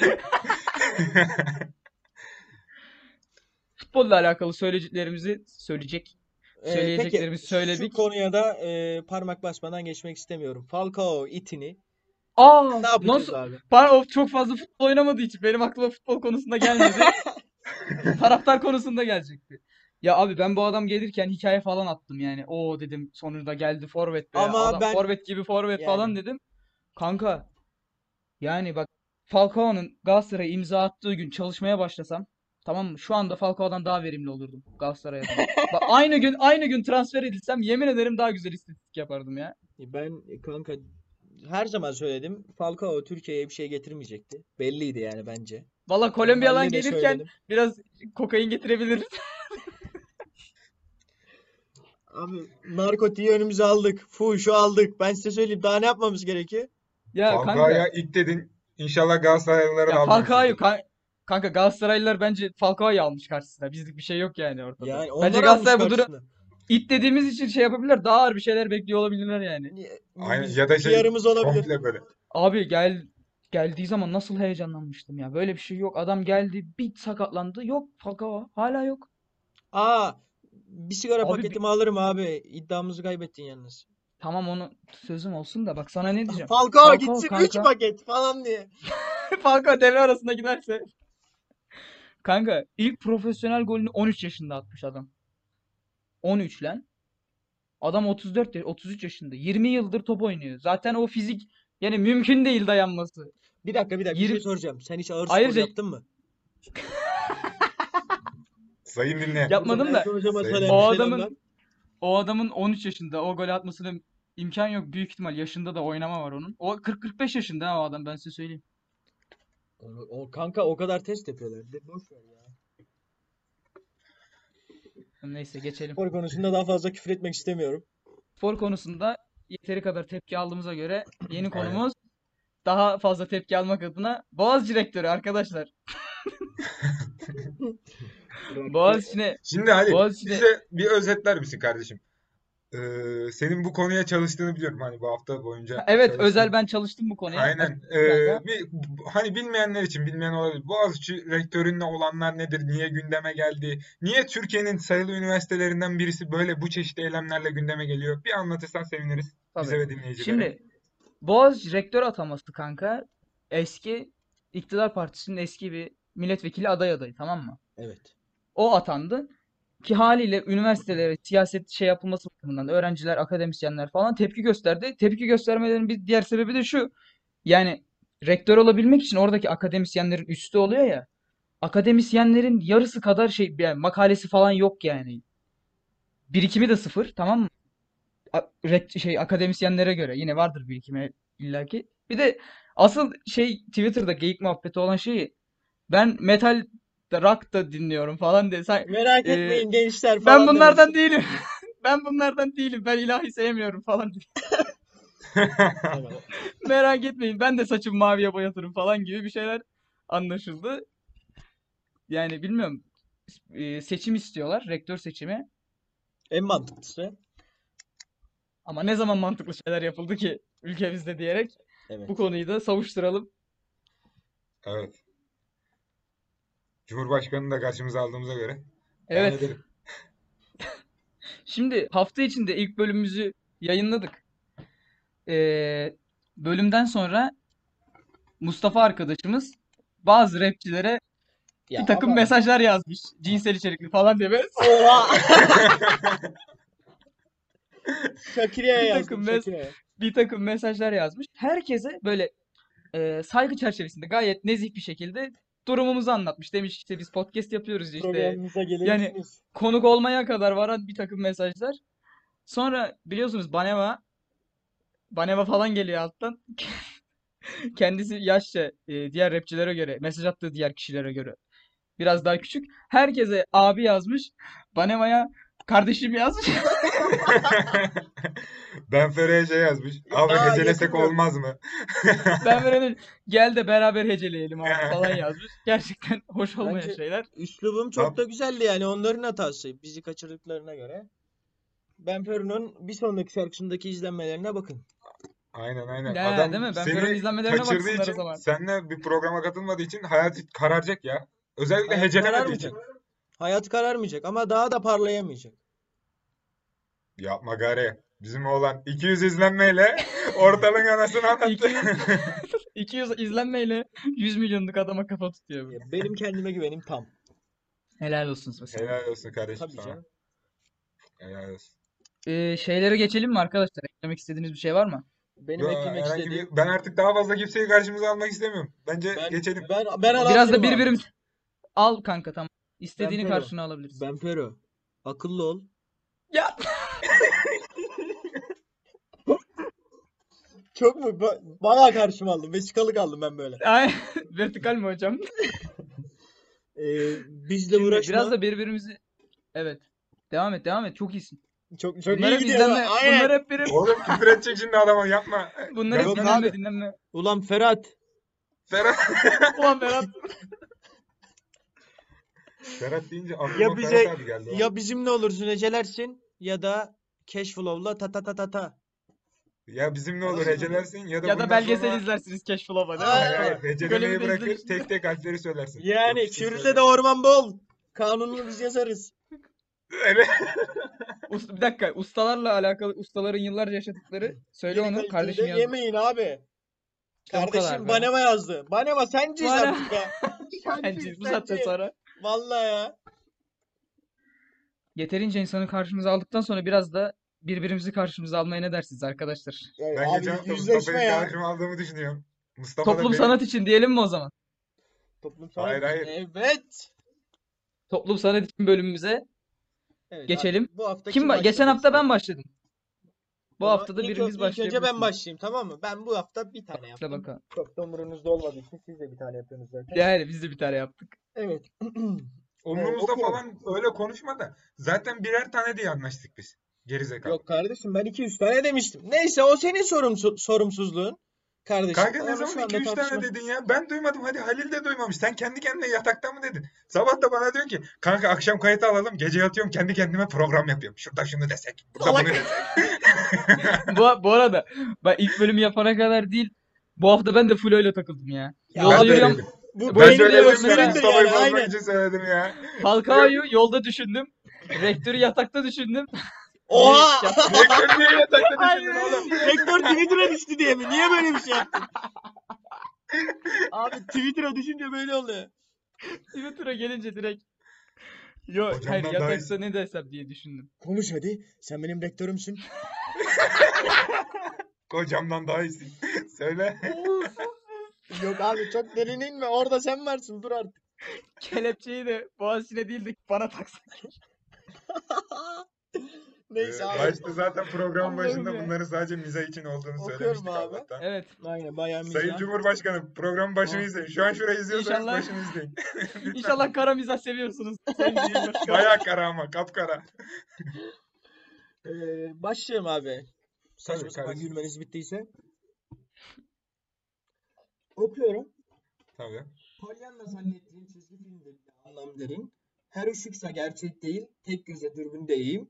[SPEAKER 2] Futbolla alakalı söyleyeceklerimizi söyleyecek.
[SPEAKER 3] Ee,
[SPEAKER 2] Söyleyeceklerimizi
[SPEAKER 3] peki
[SPEAKER 2] söyledik.
[SPEAKER 3] şu konuya da e, parmak basmadan geçmek istemiyorum. Falcao itini
[SPEAKER 2] Aa,
[SPEAKER 3] ne yapacağız
[SPEAKER 2] nasıl?
[SPEAKER 3] abi?
[SPEAKER 2] Pardon, çok fazla futbol oynamadığı için benim aklıma futbol konusunda gelmedi. Taraftar konusunda gelecekti. Ya abi ben bu adam gelirken hikaye falan attım yani. Oo dedim sonunda geldi forvet be.
[SPEAKER 3] Ama
[SPEAKER 2] Adam
[SPEAKER 3] ben-
[SPEAKER 2] forvet gibi forvet
[SPEAKER 3] Yani.
[SPEAKER 2] falan dedim. Kanka yani bak Falcao'nun Galatasaray'a imza attığı gün çalışmaya başlasam tamam mı? Şu anda Falcao'dan daha verimli olurdum Galatasaray'a. Bak aynı gün aynı gün transfer edilsem yemin ederim daha güzel istatistik yapardım ya.
[SPEAKER 3] Ben e, kanka her zaman söyledim. Falcao Türkiye'ye bir şey getirmeyecekti. Belliydi yani bence.
[SPEAKER 2] Valla Kolombiya'dan
[SPEAKER 3] Normalde de
[SPEAKER 2] gelirken
[SPEAKER 3] söyledim.
[SPEAKER 2] biraz kokain getirebiliriz.
[SPEAKER 3] Abi narkotiği önümüze aldık. Fuhuşu aldık. Ben size söyleyeyim daha ne yapmamız gerekiyor?
[SPEAKER 2] Ya kanka
[SPEAKER 4] Falcao'ya ilk dedin. İnşallah Galatasaraylılara da
[SPEAKER 2] Ya
[SPEAKER 4] almazsın.
[SPEAKER 2] Falcao'yu kan- kanka Galatasaraylılar bence Falcao'yu almış karşısına. Bizlik bir şey yok yani ortada.
[SPEAKER 3] Yani
[SPEAKER 2] Bence
[SPEAKER 3] onlar almış
[SPEAKER 2] Galatasaray bu durum
[SPEAKER 3] karşısına.
[SPEAKER 2] it dediğimiz için şey yapabilirler. Daha ağır bir şeyler bekliyor olabilirler yani.
[SPEAKER 3] Niye-
[SPEAKER 4] Aynen.
[SPEAKER 3] biz-
[SPEAKER 4] Ya da
[SPEAKER 3] bir
[SPEAKER 4] şey
[SPEAKER 3] yarımız olabilir.
[SPEAKER 4] komple böyle.
[SPEAKER 2] Abi gel geldiği zaman nasıl heyecanlanmıştım ya. Böyle bir şey yok. Adam geldi, bir sakatlandı. Yok Falcao hala yok.
[SPEAKER 3] Aa, bir sigara
[SPEAKER 2] Abi
[SPEAKER 3] paketimi alırım abi. İddiamızı kaybettin yalnız.
[SPEAKER 2] Tamam onu sözüm olsun da bak sana ne diyeceğim.
[SPEAKER 3] Falcao
[SPEAKER 2] Falcao
[SPEAKER 3] gitsin 3
[SPEAKER 2] kanka.
[SPEAKER 3] paket falan diye.
[SPEAKER 2] Falcao devre arasında giderse. Kanka ilk profesyonel golünü 13 yaşında atmış adam. 13 lan. Adam 34 ya- 33 yaşında. 20 yıldır top oynuyor. Zaten o fizik yani mümkün değil dayanması.
[SPEAKER 3] Bir dakika bir dakika bir şey
[SPEAKER 2] Yirmi-
[SPEAKER 3] soracağım. Sen hiç ağır spor
[SPEAKER 2] Ayrıca-
[SPEAKER 3] yaptın mı?
[SPEAKER 4] Sayın dinleyen.
[SPEAKER 2] Yapmadım da
[SPEAKER 3] Ersun hocama
[SPEAKER 4] Sayın-
[SPEAKER 3] söylemiş,
[SPEAKER 2] o
[SPEAKER 3] selamlar.
[SPEAKER 2] adamın O adamın 13 yaşında o golü atmasının imkan yok. Büyük ihtimal yaşında da oynama var onun. O 40-45 yaşında ha o adam ben size söyleyeyim.
[SPEAKER 3] Onu- o, kanka o kadar test yapıyorlar. De, boş ver ya.
[SPEAKER 2] Neyse geçelim.
[SPEAKER 3] Spor konusunda daha fazla küfür etmek istemiyorum.
[SPEAKER 2] Spor konusunda yeteri kadar tepki aldığımıza göre yeni konumuz daha fazla tepki almak adına Boğaziçi rektörü arkadaşlar. Boğaziçi'ne
[SPEAKER 4] Şimdi Ali
[SPEAKER 2] Boğaziçi'de-
[SPEAKER 4] bize bir özetler misin kardeşim? Ee, senin bu konuya çalıştığını biliyorum hani bu hafta boyunca
[SPEAKER 2] evet
[SPEAKER 4] çalıştın.
[SPEAKER 2] özel ben çalıştım bu konuya.
[SPEAKER 4] Aynen.
[SPEAKER 2] Bir
[SPEAKER 4] Ee, bir, hani bilmeyenler için bilmeyen olabilir. Boğaziçi rektörünle olanlar nedir? Niye gündeme geldi? Niye Türkiye'nin sayılı üniversitelerinden birisi böyle bu çeşitli eylemlerle gündeme geliyor? Bir anlatırsan seviniriz
[SPEAKER 2] Tabii.
[SPEAKER 4] bize ve dinleyicilere.
[SPEAKER 2] Şimdi Boğaziçi rektör ataması kanka eski iktidar partisinin eski bir milletvekili aday adayı tamam mı?
[SPEAKER 3] Evet.
[SPEAKER 2] O atandı ki haliyle üniversitelere siyaset şey yapılması bakımından öğrenciler, akademisyenler falan tepki gösterdi. Tepki göstermelerinin bir diğer sebebi de şu. Yani rektör olabilmek için oradaki akademisyenlerin üstü oluyor ya. Akademisyenlerin yarısı kadar şey yani makalesi falan yok yani. Birikimi de sıfır tamam mı? A- rekt- şey akademisyenlere göre yine vardır birikimi illaki. Bir de asıl şey Twitter'da geyik muhabbeti olan şeyi ben metal da rock da dinliyorum falan diye. Sen,
[SPEAKER 3] Merak
[SPEAKER 2] Ee,
[SPEAKER 3] etmeyin gençler
[SPEAKER 2] ben
[SPEAKER 3] falan
[SPEAKER 2] bunlardan
[SPEAKER 3] demesin.
[SPEAKER 2] değilim. Ben bunlardan değilim. Ben ilahi sevmiyorum falan diye.
[SPEAKER 3] Tamam.
[SPEAKER 2] Merak etmeyin. Ben de saçımı maviye boyatırım falan gibi bir şeyler anlaşıldı. Yani bilmiyorum. Ee, Seçim istiyorlar. Rektör seçimi.
[SPEAKER 3] En mantıklısı.
[SPEAKER 2] Ama ne zaman mantıklı şeyler yapıldı ki ülkemizde diyerek
[SPEAKER 3] Evet.
[SPEAKER 2] bu konuyu da savuşturalım.
[SPEAKER 4] Evet. Cumhurbaşkanını da karşımıza aldığımıza göre. devam
[SPEAKER 2] Evet.
[SPEAKER 4] edelim.
[SPEAKER 2] Şimdi hafta içinde ilk bölümümüzü yayınladık. Ee, bölümden sonra Mustafa arkadaşımız bazı rapçilere
[SPEAKER 3] Ya
[SPEAKER 2] bir takım
[SPEAKER 3] ama-
[SPEAKER 2] mesajlar yazmış. Cinsel içerikli falan diye. böyle.
[SPEAKER 3] Oha! Şakir'e
[SPEAKER 2] Bir
[SPEAKER 3] yazdım
[SPEAKER 2] takım mes-
[SPEAKER 3] Şakir'e.
[SPEAKER 2] bir takım mesajlar yazmış. Herkese böyle e, saygı çerçevesinde gayet nezih bir şekilde durumumuzu anlatmış. Demiş işte biz podcast yapıyoruz işte
[SPEAKER 3] Programımıza gelir
[SPEAKER 2] yani-
[SPEAKER 3] misiniz?
[SPEAKER 2] konuk olmaya kadar varan bir takım mesajlar. Sonra biliyorsunuz Baneva Baneva falan geliyor alttan. Kendisi yaşça e, diğer rapçilere göre, mesaj attığı diğer kişilere göre biraz daha küçük. Herkese abi yazmış. Baneva'ya kardeşim yazmış.
[SPEAKER 4] Ben Fere'ye şey yazmış. Abi
[SPEAKER 3] Aa,
[SPEAKER 4] hecelesek
[SPEAKER 3] yakın yok.
[SPEAKER 4] olmaz mı?
[SPEAKER 2] Ben böyle dedim, gel de beraber heceleyelim abi falan yazmış. Gerçekten hoş olmayan
[SPEAKER 3] Bence-
[SPEAKER 2] şeyler.
[SPEAKER 3] Üslubum çok da güzeldi yani onların hatası. Bizi kaçırdıklarına göre. Ben Ferun'un bir sonraki şarkısındaki izlenmelerine bakın.
[SPEAKER 4] Aynen aynen.
[SPEAKER 2] Ya,
[SPEAKER 4] Adam
[SPEAKER 2] değil mi? Ben
[SPEAKER 4] seni
[SPEAKER 2] Ferhan'ın izlenmelerine
[SPEAKER 4] kaçırdığı
[SPEAKER 2] baksınlar o
[SPEAKER 4] için,
[SPEAKER 2] zaman.
[SPEAKER 4] seninle bir programa katılmadığı için hayat kararacak ya. Özellikle
[SPEAKER 3] Hayat
[SPEAKER 4] hecelemediği için.
[SPEAKER 3] kararmayacak. Hayat kararmayacak ama daha da parlayamayacak.
[SPEAKER 4] Yapma gari. Bizim oğlan 200 izlenmeyle ortalığın anasını anlattı.
[SPEAKER 2] 200 izlenmeyle 100 milyonluk adama kafa tutuyor. bu.
[SPEAKER 3] Ya Benim kendime güvenim tam.
[SPEAKER 2] Helal olsun mesela.
[SPEAKER 4] Helal olsun kardeşim
[SPEAKER 3] Tabii
[SPEAKER 4] sana.
[SPEAKER 3] canım.
[SPEAKER 4] Helal olsun.
[SPEAKER 2] Ee, şeylere geçelim mi arkadaşlar? Eklemek istediğiniz bir şey var mı?
[SPEAKER 3] Benim
[SPEAKER 4] Yo,
[SPEAKER 3] eklemek
[SPEAKER 4] herhangi bir-
[SPEAKER 3] istediğim...
[SPEAKER 4] Ben artık daha fazla kimseyi karşımıza almak istemiyorum. Bence
[SPEAKER 3] Ben,
[SPEAKER 4] geçelim.
[SPEAKER 3] ben, ben
[SPEAKER 2] Biraz da
[SPEAKER 3] anahtarım abi.
[SPEAKER 2] birbirimiz al kanka tamam. İstediğini
[SPEAKER 3] Ben
[SPEAKER 2] karşına alabiliriz.
[SPEAKER 3] Ben Fero. Akıllı ol.
[SPEAKER 2] Ya
[SPEAKER 3] Çok mu? Ba- Bayağı karşıma aldım. Vesikalık aldım ben böyle.
[SPEAKER 2] ay vertikal mi hocam?
[SPEAKER 3] Ee, bizle
[SPEAKER 2] Şimdi
[SPEAKER 3] uğraşma.
[SPEAKER 2] biraz da birbirimizi Evet. Devam et, devam et. Çok iyisin.
[SPEAKER 3] Çok, çok
[SPEAKER 2] Bunlar
[SPEAKER 3] iyi
[SPEAKER 2] hep
[SPEAKER 3] gidiyor.
[SPEAKER 2] izlenme,
[SPEAKER 3] ha, aynen.
[SPEAKER 2] bunlar hep birim,
[SPEAKER 4] Oğlum küfür edecek şimdi adama yapma.
[SPEAKER 2] bunlar hep
[SPEAKER 3] Yok
[SPEAKER 2] dinlenme,
[SPEAKER 3] abi.
[SPEAKER 2] dinlenme.
[SPEAKER 3] Ulan Ferhat.
[SPEAKER 4] Ferhat,
[SPEAKER 2] Ulan Berat.
[SPEAKER 4] Ferhat deyince aklıma
[SPEAKER 3] Ya bize-
[SPEAKER 4] Ferhat abi geldi. oğlum.
[SPEAKER 3] Ya bizimle olursun ecelersin ya da Cashflow'la ta ta ta ta ta.
[SPEAKER 4] Ya bizim ne olur
[SPEAKER 3] Nasıl?
[SPEAKER 4] hecelersin ya da
[SPEAKER 2] Ya da
[SPEAKER 4] bundan
[SPEAKER 2] belgesel
[SPEAKER 4] sonra-
[SPEAKER 2] izlersiniz Keşf Ulan
[SPEAKER 3] Aa,
[SPEAKER 4] Hayır hayır
[SPEAKER 3] evet.
[SPEAKER 4] hecelemeyi
[SPEAKER 2] Bölümü de
[SPEAKER 4] bırakır
[SPEAKER 2] izleriz.
[SPEAKER 4] tek tek harfleri söylersin. Yok
[SPEAKER 3] Yani
[SPEAKER 4] bir şey
[SPEAKER 3] Kürt'le de
[SPEAKER 4] söyleme.
[SPEAKER 3] orman bol. Kanununu biz yazarız.
[SPEAKER 4] Evet.
[SPEAKER 2] Usta, bir dakika. Ustalarla alakalı ustaların yıllarca yaşadıkları söyle
[SPEAKER 3] Yeni
[SPEAKER 2] onu
[SPEAKER 3] kaliteli
[SPEAKER 2] kardeşim
[SPEAKER 3] de
[SPEAKER 2] yazdı.
[SPEAKER 3] Yemeyin abi.
[SPEAKER 2] İşte bu kadar
[SPEAKER 3] Kardeşim
[SPEAKER 2] be.
[SPEAKER 3] Banema yazdı. Banema senciyiz
[SPEAKER 2] Banema.
[SPEAKER 3] artık be.
[SPEAKER 2] Bence bu saatten sonra
[SPEAKER 3] Vallahi ya.
[SPEAKER 2] yeterince insanı karşımıza aldıktan sonra biraz da birbirimizi karşımıza almaya ne dersiniz arkadaşlar?
[SPEAKER 3] Yani
[SPEAKER 4] Ben
[SPEAKER 3] abi
[SPEAKER 4] geçen hafta
[SPEAKER 3] yüzleşme
[SPEAKER 4] Mustafa'yı
[SPEAKER 3] ya.
[SPEAKER 4] karşıma aldığımı düşünüyorum. Mustafa da
[SPEAKER 2] Toplum
[SPEAKER 4] benim-
[SPEAKER 2] sanat için diyelim mi o zaman?
[SPEAKER 3] Toplum
[SPEAKER 4] Hayır,
[SPEAKER 3] sanat-
[SPEAKER 4] hayır.
[SPEAKER 3] Evet.
[SPEAKER 2] Toplum sanat için bölümümüze
[SPEAKER 3] Evet,
[SPEAKER 2] Geçelim.
[SPEAKER 3] abi, Bu hafta
[SPEAKER 2] Kim ba- geçen
[SPEAKER 3] başlamak
[SPEAKER 2] hafta ben
[SPEAKER 3] istiyor?
[SPEAKER 2] başladım. Bu
[SPEAKER 3] O zaman
[SPEAKER 2] hafta da
[SPEAKER 3] ilk,
[SPEAKER 2] birimiz
[SPEAKER 3] ilk önce ben
[SPEAKER 2] başlayabilirsiniz.
[SPEAKER 3] başlayayım tamam mı? Ben bu hafta bir tane
[SPEAKER 2] Başla
[SPEAKER 3] yaptım.
[SPEAKER 2] bakalım.
[SPEAKER 3] Çok da umurunuzda olmadığı için siz de bir tane yapıyorsunuz zaten.
[SPEAKER 2] Yani biz de bir tane yaptık.
[SPEAKER 3] Evet.
[SPEAKER 4] Umrumuzda
[SPEAKER 3] okuyorum.
[SPEAKER 4] falan öyle konuşma da zaten birer tane diye anlaştık biz. Gerizekalı.
[SPEAKER 3] Yok kardeşim ben 2-3 tane demiştim. Neyse o senin sorumsu- sorumsuzluğun. Kardeşim
[SPEAKER 4] Kanka ne
[SPEAKER 3] onu
[SPEAKER 4] zaman
[SPEAKER 3] şu anda
[SPEAKER 4] 2-3 tane
[SPEAKER 3] tartışma-
[SPEAKER 4] dedin ya? Ben duymadım. Hadi Halil de duymamış. Sen kendi kendine yatakta mı dedin? Sabah da bana diyorsun ki kanka akşam kayıt alalım. Gece yatıyorum kendi kendime program yapıyorum. Şurada şunu desek. Burada
[SPEAKER 3] Salak.
[SPEAKER 4] bunu desek.
[SPEAKER 2] Bu, bu arada ben ilk bölümü yapana kadar değil bu hafta ben de full öyle takıldım ya.
[SPEAKER 3] Ya
[SPEAKER 2] Yolda
[SPEAKER 4] Ben
[SPEAKER 3] abi,
[SPEAKER 2] yürüyen
[SPEAKER 4] söyledim.
[SPEAKER 3] bu
[SPEAKER 4] Ben
[SPEAKER 2] beynine
[SPEAKER 3] benim de
[SPEAKER 4] söyledim.
[SPEAKER 2] bak,
[SPEAKER 3] yok
[SPEAKER 4] Benim
[SPEAKER 2] benim
[SPEAKER 3] senin de
[SPEAKER 4] Mustafa'yı
[SPEAKER 3] yani
[SPEAKER 4] bozmak
[SPEAKER 3] aynen.
[SPEAKER 4] için söyledim ya.
[SPEAKER 2] Falcao'yu yolda düşündüm. Rektörü yatakta düşündüm.
[SPEAKER 3] Oha!
[SPEAKER 4] Rektör niye yatakta düşündün
[SPEAKER 2] Aynen.
[SPEAKER 4] oğlum?
[SPEAKER 3] Rektör Twitter'a düştü diye mi? Niye böyle bir şey yaptın? Abi Twitter'a düşünce böyle oluyor.
[SPEAKER 2] Twitter'a gelince direkt Yo,
[SPEAKER 4] Hocamdan
[SPEAKER 2] hayır
[SPEAKER 4] daha
[SPEAKER 2] yatakta ne desem diye düşündüm.
[SPEAKER 3] Konuş hadi. Sen benim rektörümsün.
[SPEAKER 4] Kocamdan daha iyisin. Söyle.
[SPEAKER 3] Yok abi çok derin inme. Orada sen varsın. Dur artık.
[SPEAKER 2] Kelepçeyi de boğazine değil de bana taksak.
[SPEAKER 4] Ee,
[SPEAKER 3] Neyse abi.
[SPEAKER 4] Başta zaten program
[SPEAKER 2] Allah'ım
[SPEAKER 4] başında
[SPEAKER 2] ya.
[SPEAKER 4] bunların sadece mize için olduğunu
[SPEAKER 3] Okuyorum
[SPEAKER 4] söylemiştik
[SPEAKER 3] abi.
[SPEAKER 4] Allah'tan.
[SPEAKER 2] Evet.
[SPEAKER 3] Aynen bayağı
[SPEAKER 4] Sayın
[SPEAKER 3] mizah.
[SPEAKER 4] Cumhurbaşkanım programın başını
[SPEAKER 2] Ah.
[SPEAKER 4] izleyin. Şu an şurayı izliyorsanız
[SPEAKER 2] İnşallah.
[SPEAKER 4] başını izleyin.
[SPEAKER 2] İnşallah kara mizah seviyorsunuz. Sayın Cumhurbaşkanı.
[SPEAKER 4] Bayağı kara ama kapkara.
[SPEAKER 3] Ee, başlayayım abi. Saçma
[SPEAKER 4] Tabii,
[SPEAKER 3] sapan
[SPEAKER 4] kardeşim.
[SPEAKER 3] gülmeniz bittiyse. Okuyorum.
[SPEAKER 4] Tabii.
[SPEAKER 3] Pollyanna zannettiğin çizgi filmde bile anlam derin. Her ışıksa gerçek değil, tek göze dürbün değeyim.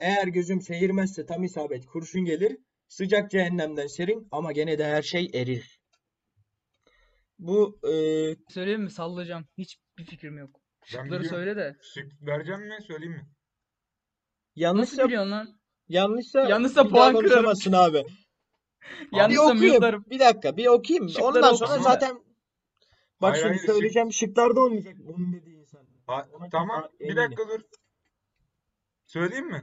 [SPEAKER 3] Eğer gözüm seyirmezse tam isabet kurşun gelir. Sıcak cehennemden serin ama gene de her şey erir. Bu e,
[SPEAKER 2] Söyleyeyim mi? Sallayacağım. Hiçbir fikrim yok. Şıkları
[SPEAKER 4] biliyorum.
[SPEAKER 2] söyle de.
[SPEAKER 4] Şık vereceğim mi söyleyeyim mi?
[SPEAKER 3] yanlış
[SPEAKER 2] Nasıl biliyorsun lan?
[SPEAKER 3] yanlışsa
[SPEAKER 2] Yanlışsa
[SPEAKER 3] bir daha
[SPEAKER 2] puan kırarım.
[SPEAKER 3] konuşamazsın abi. Bir
[SPEAKER 2] Yanlışsa
[SPEAKER 3] okuyayım.
[SPEAKER 2] mute'larım.
[SPEAKER 3] Bir dakika bir okuyayım.
[SPEAKER 2] Şıkları
[SPEAKER 3] Ondan
[SPEAKER 2] okusana.
[SPEAKER 3] sonra zaten bak
[SPEAKER 4] Hayır,
[SPEAKER 3] şimdi
[SPEAKER 4] hayır, şık-
[SPEAKER 3] söyleyeceğim şıklarda olmayacak. Bunun dediği insan.
[SPEAKER 4] Ha,
[SPEAKER 3] Ona
[SPEAKER 4] tamam.
[SPEAKER 3] çok
[SPEAKER 4] Bir
[SPEAKER 3] eminim.
[SPEAKER 4] dakika dur. Söyleyeyim mi?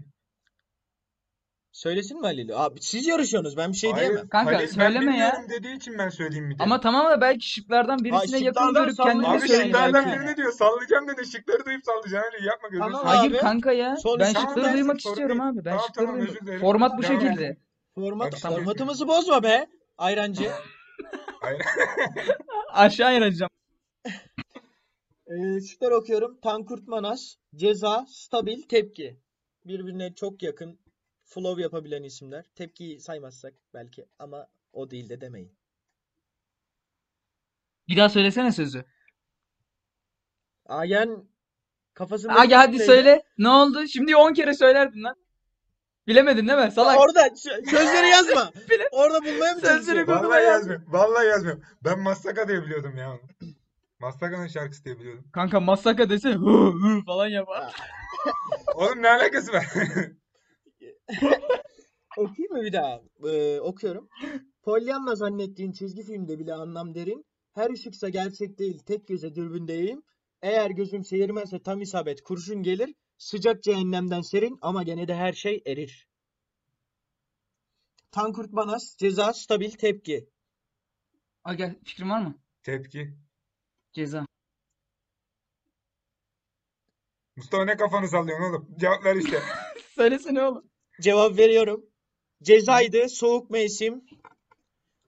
[SPEAKER 3] Söylesin mi Halil? Abi siz yarışıyorsunuz. Ben bir şey
[SPEAKER 4] Hayır.
[SPEAKER 3] diyemem.
[SPEAKER 2] Kanka,
[SPEAKER 4] Halil, ben
[SPEAKER 2] söyleme ya.
[SPEAKER 4] bilmiyorum dediği için ben söyleyeyim mi
[SPEAKER 2] Ama
[SPEAKER 4] dedim.
[SPEAKER 2] tamam da belki şıklardan birisine yakın
[SPEAKER 3] şıklardan
[SPEAKER 2] görüp
[SPEAKER 3] sallama.
[SPEAKER 2] kendini
[SPEAKER 4] Abi
[SPEAKER 3] Söyle
[SPEAKER 2] söyleyeyim
[SPEAKER 4] şıklardan
[SPEAKER 2] belki.
[SPEAKER 3] belki.
[SPEAKER 4] birini diyor. Sallayacağım dedi. Şıkları duyup sallayacağım. Öyle yapma gözünü
[SPEAKER 3] Tamam
[SPEAKER 4] seveyim.
[SPEAKER 3] abi.
[SPEAKER 2] Hayır kanka ya.
[SPEAKER 3] Sonuç-
[SPEAKER 2] Ben
[SPEAKER 4] Tamam,
[SPEAKER 2] şıkları
[SPEAKER 4] ben-
[SPEAKER 2] duymak
[SPEAKER 4] sorun
[SPEAKER 2] istiyorum
[SPEAKER 4] değil.
[SPEAKER 2] abi. Ben
[SPEAKER 4] Tamam,
[SPEAKER 2] şıkları
[SPEAKER 4] tamam,
[SPEAKER 2] duymak.
[SPEAKER 4] özür dilerim.
[SPEAKER 2] Format bu
[SPEAKER 4] Devam et.
[SPEAKER 2] şekilde.
[SPEAKER 3] Format,
[SPEAKER 4] Tamam.
[SPEAKER 3] formatımızı bozma be. Ayrancı.
[SPEAKER 4] Hayır.
[SPEAKER 2] Aşağı ineceğim.
[SPEAKER 3] Ee, şıklar okuyorum. Tankurt Manas, Ceza, Stabil, Tepki. Birbirine çok yakın flow yapabilen isimler. Tepkiyi saymazsak belki ama o değil de demeyin.
[SPEAKER 2] Bir daha söylesene sözü.
[SPEAKER 3] Ayen kafasında
[SPEAKER 2] Aga hadi söyle. Ne oldu? Şimdi 10 kere söylerdin lan. Bilemedin değil mi? Salak.
[SPEAKER 3] Orada sö- sözleri yazma.
[SPEAKER 2] Bile-
[SPEAKER 3] Orada bulmaya mı
[SPEAKER 2] Sözleri
[SPEAKER 3] çalışıyorsun?
[SPEAKER 2] bul-
[SPEAKER 4] Vallahi yazmıyorum. Vallahi yazmıyorum. Ben Massaka diye biliyordum ya onu. Massaka'nın şarkısı diye biliyordum.
[SPEAKER 2] Kanka masaka dese hı hı falan yapar.
[SPEAKER 4] Oğlum ne alakası var?
[SPEAKER 3] Okuyayım mı bir daha? Ee, okuyorum. Pollyanna zannettiğin çizgi filmde bile anlam derin. Her ışıksa gerçek değil, tek göze dürbündeyim. Eğer gözüm seyirmezse tam isabet kurşun gelir. Sıcak cehennemden serin ama gene de her şey erir. Tankurt Manas, ceza, stabil, tepki.
[SPEAKER 2] Aga fikrin var mı?
[SPEAKER 4] Tepki.
[SPEAKER 2] Ceza.
[SPEAKER 4] Mustafa ne kafanı sallıyorsun oğlum? Cevap ver işte.
[SPEAKER 2] Söylesene oğlum.
[SPEAKER 3] Cevap veriyorum. Cezaydı, soğuk mevsim.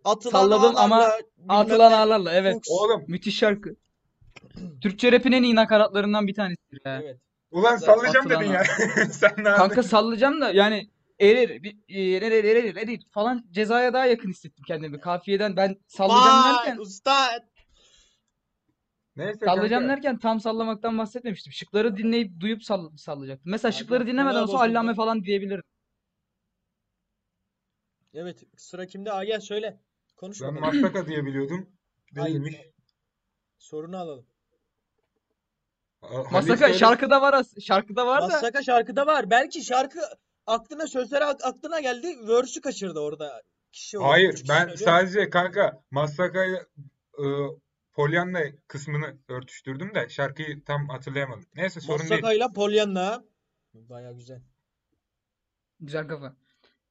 [SPEAKER 3] Atılan
[SPEAKER 2] Salladın ama
[SPEAKER 3] ağlarla bilmem
[SPEAKER 2] Atılan
[SPEAKER 3] ne.
[SPEAKER 2] ağlarla evet.
[SPEAKER 3] Fuchs.
[SPEAKER 4] Oğlum
[SPEAKER 2] Müthiş şarkı. Türkçe rap'in en iyi nakaratlarından bir tanesidir ya.
[SPEAKER 3] Evet.
[SPEAKER 4] ulan
[SPEAKER 3] Zaten
[SPEAKER 4] sallayacağım dedin ya. Sen ne
[SPEAKER 2] Kanka sallayacağım da yani erir, bir, erir, erir, erir, erir falan cezaya daha yakın hissettim kendimi. Kafiyeden ben sallayacağım
[SPEAKER 3] Vay
[SPEAKER 2] derken
[SPEAKER 3] usta.
[SPEAKER 4] Neyse
[SPEAKER 2] sallayacağım
[SPEAKER 4] kanka.
[SPEAKER 2] derken tam sallamaktan bahsetmemiştim. Şıkları dinleyip duyup sall sallayacaktım. Mesela
[SPEAKER 3] Abi,
[SPEAKER 2] şıkları dinlemeden
[SPEAKER 3] moral
[SPEAKER 2] olsa
[SPEAKER 3] bozuldu.
[SPEAKER 2] allame falan diyebilirdim.
[SPEAKER 3] Evet sıra kimde? Aa, gel söyle. Konuş
[SPEAKER 4] Ben
[SPEAKER 3] bakalım.
[SPEAKER 4] Massaka diye biliyordum.
[SPEAKER 3] Hayır.
[SPEAKER 4] Değilmiş.
[SPEAKER 3] Sorunu alalım.
[SPEAKER 4] Ha- Halil
[SPEAKER 2] Masaka
[SPEAKER 4] söyle.
[SPEAKER 2] şarkıda var as- şarkıda var da
[SPEAKER 3] Massaka şarkıda var. Belki şarkı aklına sözleri ak- aklına geldi. Verse'ü kaçırdı orada. Kişi olarak,
[SPEAKER 4] Hayır,
[SPEAKER 3] üç kişi
[SPEAKER 4] ben
[SPEAKER 3] söylüyor.
[SPEAKER 4] sadece kanka Massaka ile e, Pollyanna kısmını örtüştürdüm de şarkıyı tam hatırlayamadım. Neyse sorun değil.
[SPEAKER 3] Massaka ile Pollyanna. Baya güzel.
[SPEAKER 2] güzel kafa.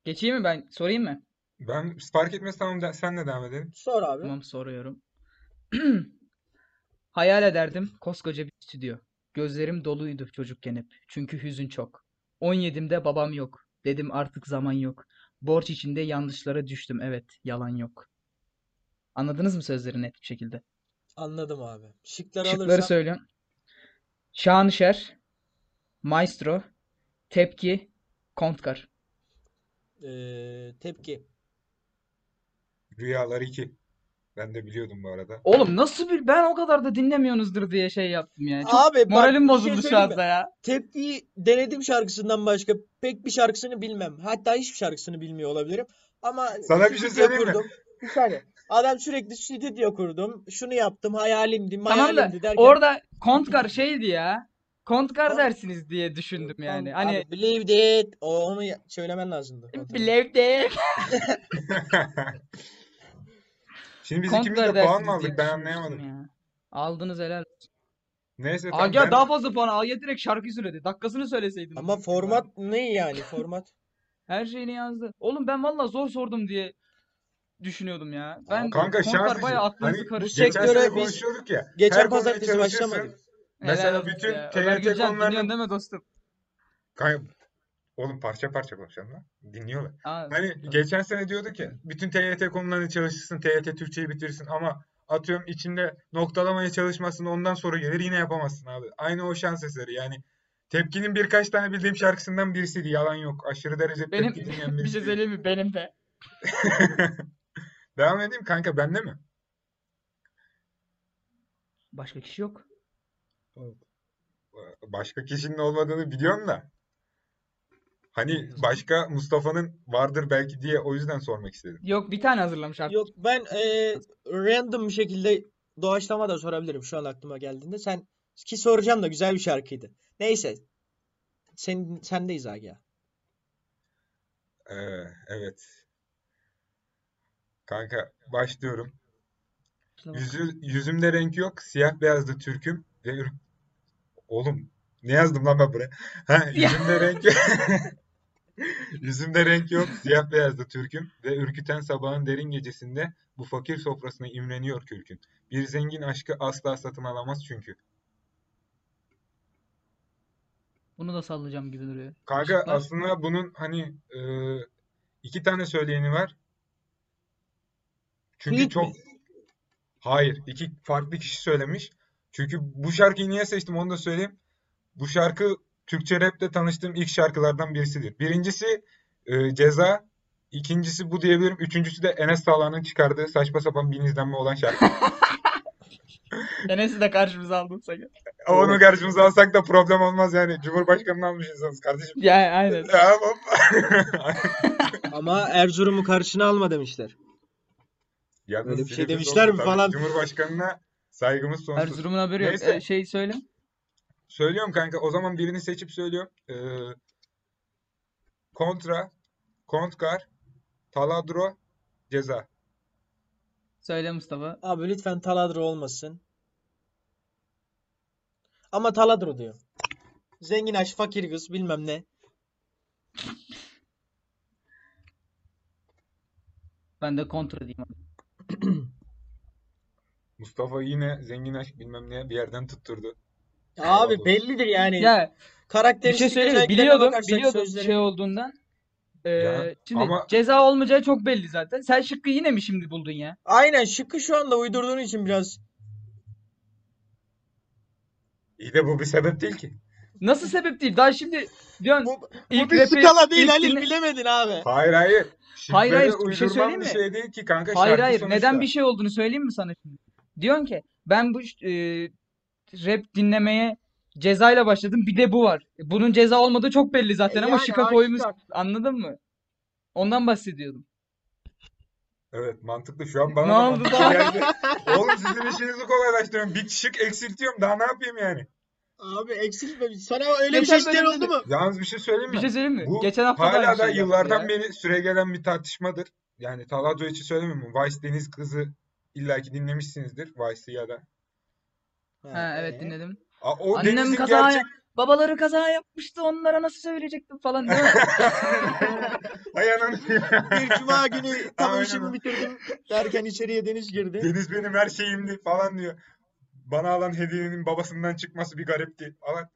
[SPEAKER 2] Geçeyim mi ben? Sorayım mı?
[SPEAKER 4] Ben fark etmez tamam de, senle devam edelim.
[SPEAKER 3] Sor abi.
[SPEAKER 2] Tamam soruyorum. Hayal ederdim koskoca bir stüdyo. Gözlerim doluydu çocukken hep. Çünkü hüzün çok. 17'imde babam yok. Dedim artık zaman yok. Borç içinde yanlışlara düştüm. Evet, yalan yok. Anladınız mı sözleri net bir şekilde?
[SPEAKER 3] Anladım abi. Şıkları
[SPEAKER 2] Şıkları
[SPEAKER 3] alırsam
[SPEAKER 2] söylüyorum. Şanışer, Maestro, Tepki, Kontkar.
[SPEAKER 3] eee, tepki.
[SPEAKER 4] Rüyalar 2. Ben de biliyordum bu arada.
[SPEAKER 2] Oğlum nasıl bir ben o kadar da dinlemiyorsunuzdur diye şey yaptım yani. Çok
[SPEAKER 3] Abi bak
[SPEAKER 2] moralim
[SPEAKER 3] bir şey
[SPEAKER 2] bozuldu şu
[SPEAKER 3] söyleyeyim mi?
[SPEAKER 2] anda ya.
[SPEAKER 3] Tepkiyi denedim şarkısından başka pek bir şarkısını bilmem. Hatta hiçbir şarkısını bilmiyor olabilirim. Ama
[SPEAKER 4] Sana bir şey
[SPEAKER 3] stüdyo
[SPEAKER 4] söyleyeyim mi?
[SPEAKER 3] kurdum. Bir saniye. Adam sürekli stüdyo kurdum. Şunu yaptım, hayalimdi,
[SPEAKER 2] Tamam da
[SPEAKER 3] mayalimdi derken.
[SPEAKER 2] Orada Kontkar şeydi ya. Kontkar
[SPEAKER 3] Tamam.
[SPEAKER 2] dersiniz diye düşündüm yani.
[SPEAKER 3] Tamam
[SPEAKER 2] Hani
[SPEAKER 3] Abi, believed it. O, onu ya- söylemen lazımdı.
[SPEAKER 2] Bilev de.
[SPEAKER 4] Şimdi biz ikimiz
[SPEAKER 2] Kontkar
[SPEAKER 4] de puan
[SPEAKER 2] dersiniz
[SPEAKER 4] mı aldık?
[SPEAKER 2] diye
[SPEAKER 4] Ben
[SPEAKER 2] düşünmüştüm
[SPEAKER 4] anlayamadım.
[SPEAKER 2] ya. Aldınız helal.
[SPEAKER 4] Neyse tamam
[SPEAKER 2] Agah
[SPEAKER 4] ben-
[SPEAKER 2] daha fazla puan. Agah direkt şarkıyı söyledi. Dakikasını söyleseydin.
[SPEAKER 3] Ama format ne yani format?
[SPEAKER 2] Her şeyini yazdı. Oğlum ben valla zor sordum diye düşünüyordum ya. Ben
[SPEAKER 4] Kanka
[SPEAKER 2] Kontkar
[SPEAKER 4] şans
[SPEAKER 2] bayağı
[SPEAKER 4] işi.
[SPEAKER 2] aklınızı
[SPEAKER 4] Hani
[SPEAKER 2] karıştırdı.
[SPEAKER 4] geçen
[SPEAKER 3] sektöre
[SPEAKER 4] sene
[SPEAKER 3] biz-
[SPEAKER 4] konuşuyorduk ya.
[SPEAKER 3] geçen
[SPEAKER 4] her konuya
[SPEAKER 3] pazartesi
[SPEAKER 4] çalışırsın.
[SPEAKER 3] başlamadık.
[SPEAKER 2] Helal
[SPEAKER 4] Mesela
[SPEAKER 2] olsun
[SPEAKER 4] bütün
[SPEAKER 2] ya. Ömer
[SPEAKER 4] TRT
[SPEAKER 2] Gülcan
[SPEAKER 4] konularını-
[SPEAKER 2] dinliyorsun değil mi dostum?
[SPEAKER 4] Kay- Oğlum parça parça konuşalım lan. Dinliyorlar.
[SPEAKER 2] Aa,
[SPEAKER 4] Hani
[SPEAKER 2] tabii.
[SPEAKER 4] geçen sene diyorduk ya bütün TYT konularını çalışırsın, TYT Türkçeyi bitirirsin ama atıyorum içinde noktalamaya çalışmasın ondan soru gelir yine yapamazsın abi. Aynı o şans eseri yani. Tepkinin birkaç tane bildiğim şarkısından birisiydi. Yalan yok. Aşırı derece
[SPEAKER 2] Benim
[SPEAKER 4] tepki dinleyen
[SPEAKER 2] bir şey
[SPEAKER 4] birisiyim.
[SPEAKER 2] söyleyeyim mi? Benim de.
[SPEAKER 4] Devam edeyim kanka bende mi?
[SPEAKER 2] Başka kişi yok.
[SPEAKER 4] Başka kişinin olmadığını biliyorum da. Hani başka Mustafa'nın vardır belki diye o yüzden sormak istedim.
[SPEAKER 2] Yok bir tane hazırlamış artık.
[SPEAKER 3] Yok ben eee, random bir şekilde doğaçlama da sorabilirim şu an aklıma geldiğinde. Sen ki soracağım da güzel bir şarkıydı. Neyse. Sen sendeyiz Agi ya.
[SPEAKER 4] Ee, evet. Kanka başlıyorum.
[SPEAKER 2] Kusura bakma.
[SPEAKER 4] Yüzü, yüzümde renk yok. Siyah beyazlı Türk'üm ve ür- Oğlum ne yazdım lan ben buraya? Ha,
[SPEAKER 2] Ya.
[SPEAKER 4] yüzümde renk yok. Yüzümde renk yok. Siyah beyazlı Türk'üm ve ürküten sabahın derin gecesinde bu fakir sofrasına imreniyor kürkün. Bir zengin aşkı asla satın alamaz çünkü.
[SPEAKER 2] Bunu da sallayacağım gibi duruyor.
[SPEAKER 4] Kanka
[SPEAKER 2] Işıklar-
[SPEAKER 4] aslında bunun hani e, iki tane söyleyeni var. Çünkü
[SPEAKER 3] Tweet
[SPEAKER 4] çok
[SPEAKER 3] mi?
[SPEAKER 4] hayır iki farklı kişi söylemiş. Çünkü bu şarkıyı niye seçtim onu da söyleyeyim. Bu şarkı Türkçe rap'te tanıştığım ilk şarkılardan birisidir. Birincisi e, Ceza, ikincisi bu diyebilirim. Üçüncüsü de Enes Sağlan'ın çıkardığı saçma sapan bin izlenme olan şarkı.
[SPEAKER 2] Enes'i de karşımıza aldım sakın.
[SPEAKER 4] Onu karşımıza alsak da problem olmaz yani. Cumhurbaşkanını almış insanız kardeşim.
[SPEAKER 2] Yani aynen.
[SPEAKER 4] Ya, hop.
[SPEAKER 3] Ama Erzurum'u karşına alma demişler.
[SPEAKER 4] Yalnız
[SPEAKER 3] Öyle bir şey
[SPEAKER 4] sinirimiz
[SPEAKER 3] demişler
[SPEAKER 4] oldu
[SPEAKER 3] mi
[SPEAKER 4] tabii.
[SPEAKER 3] falan?
[SPEAKER 4] Cumhurbaşkanına saygımız sonsuz.
[SPEAKER 2] Erzurum'un haberi yok.
[SPEAKER 4] Neyse.
[SPEAKER 2] Ee, şey söyle.
[SPEAKER 4] Söylüyorum kanka o zaman birini seçip söylüyorum. Ee, kontra, Kontkar, Taladro, Ceza.
[SPEAKER 2] Söyle Mustafa.
[SPEAKER 3] Abi lütfen Taladro olmasın. Ama Taladro diyor. Zengin aç, fakir kız, bilmem ne.
[SPEAKER 2] Ben de kontra diyeyim. abi.
[SPEAKER 4] Mustafa yine zengin aşk bilmem ne bir yerden tutturdu.
[SPEAKER 3] Abi
[SPEAKER 4] Taladro.
[SPEAKER 3] bellidir yani.
[SPEAKER 2] Ya bir
[SPEAKER 3] Karakteristik
[SPEAKER 2] şey söyleyeyim mi?
[SPEAKER 3] özelliklerine
[SPEAKER 2] Biliyordum.
[SPEAKER 3] bakarsak
[SPEAKER 2] Biliyordum
[SPEAKER 3] sözleri-
[SPEAKER 2] şey olduğundan. Ee,
[SPEAKER 4] Ya,
[SPEAKER 2] şimdi
[SPEAKER 4] ama-
[SPEAKER 2] ceza olmayacağı çok belli zaten. Sen şıkkı yine mi şimdi buldun ya?
[SPEAKER 3] Aynen şıkkı şu anda uydurduğun için biraz.
[SPEAKER 4] İyi de bu bir sebep değil ki.
[SPEAKER 2] Nasıl sebep değil? Daha şimdi diyorsun
[SPEAKER 3] Bu, bu
[SPEAKER 2] ilk
[SPEAKER 3] bir
[SPEAKER 2] rapi-
[SPEAKER 3] skala değil
[SPEAKER 2] ilk
[SPEAKER 3] Halil
[SPEAKER 2] dinle-
[SPEAKER 3] bilemedin abi.
[SPEAKER 4] Hayır hayır.
[SPEAKER 2] Hayır, hayır,
[SPEAKER 4] Şifreli
[SPEAKER 2] bir şey
[SPEAKER 4] uydurman
[SPEAKER 2] söyleyeyim
[SPEAKER 4] bir
[SPEAKER 2] mi?
[SPEAKER 4] şey değil ki kanka
[SPEAKER 2] Hayır
[SPEAKER 4] şarkı
[SPEAKER 2] hayır. Neden
[SPEAKER 4] sonuçta.
[SPEAKER 2] bir şey olduğunu söyleyeyim mi sana şimdi? Diyorsun ki ben bu e, rap dinlemeye cezayla başladım. Bir de bu var. Bunun ceza olmadığı çok belli zaten
[SPEAKER 3] E
[SPEAKER 2] ama
[SPEAKER 3] yani
[SPEAKER 2] şıkka
[SPEAKER 3] aşk
[SPEAKER 2] koymuş.
[SPEAKER 3] şarkı.
[SPEAKER 2] Anladın mı? Ondan bahsediyordum.
[SPEAKER 4] Evet mantıklı şu an bana
[SPEAKER 2] Ne
[SPEAKER 4] da
[SPEAKER 2] oldu
[SPEAKER 4] mantıklı
[SPEAKER 2] daha?
[SPEAKER 4] geldi. Oğlum sizin işinizi kolaylaştırıyorum. Bir şık eksiltiyorum daha ne yapayım yani.
[SPEAKER 3] Abi eksiltme. Sana öyle bir
[SPEAKER 2] Geçen
[SPEAKER 3] şey isteyen
[SPEAKER 2] bölümde
[SPEAKER 3] oldu mu?
[SPEAKER 4] Yalnız bir şey söyleyeyim
[SPEAKER 2] Bir
[SPEAKER 4] mi?
[SPEAKER 2] şey söyleyeyim mi?
[SPEAKER 4] Bu
[SPEAKER 2] Geçen hafta da aynı
[SPEAKER 4] hala da
[SPEAKER 2] şey
[SPEAKER 4] yıllardan
[SPEAKER 2] yaptı ya.
[SPEAKER 4] beri süregelen bir tartışmadır. Yani Taladro için söylemiyorum. Vice Deniz Kızı illaki dinlemişsinizdir. Vice'ı ya da.
[SPEAKER 2] Ha,
[SPEAKER 3] Ee?
[SPEAKER 2] evet dinledim.
[SPEAKER 4] A, o
[SPEAKER 2] Annem
[SPEAKER 4] Deniz'in
[SPEAKER 2] kaza
[SPEAKER 4] gerçek...
[SPEAKER 2] Babaları kaza yapmıştı onlara nasıl söyleyecektim falan değil mi?
[SPEAKER 4] Ay ananı.
[SPEAKER 3] Bir cuma günü tam
[SPEAKER 4] Aynen
[SPEAKER 3] işimi
[SPEAKER 4] öyle.
[SPEAKER 3] bitirdim derken içeriye Deniz girdi.
[SPEAKER 4] Deniz benim her şeyimdi falan diyor. bana alan hediyenin babasından çıkması bir garipti. Alan,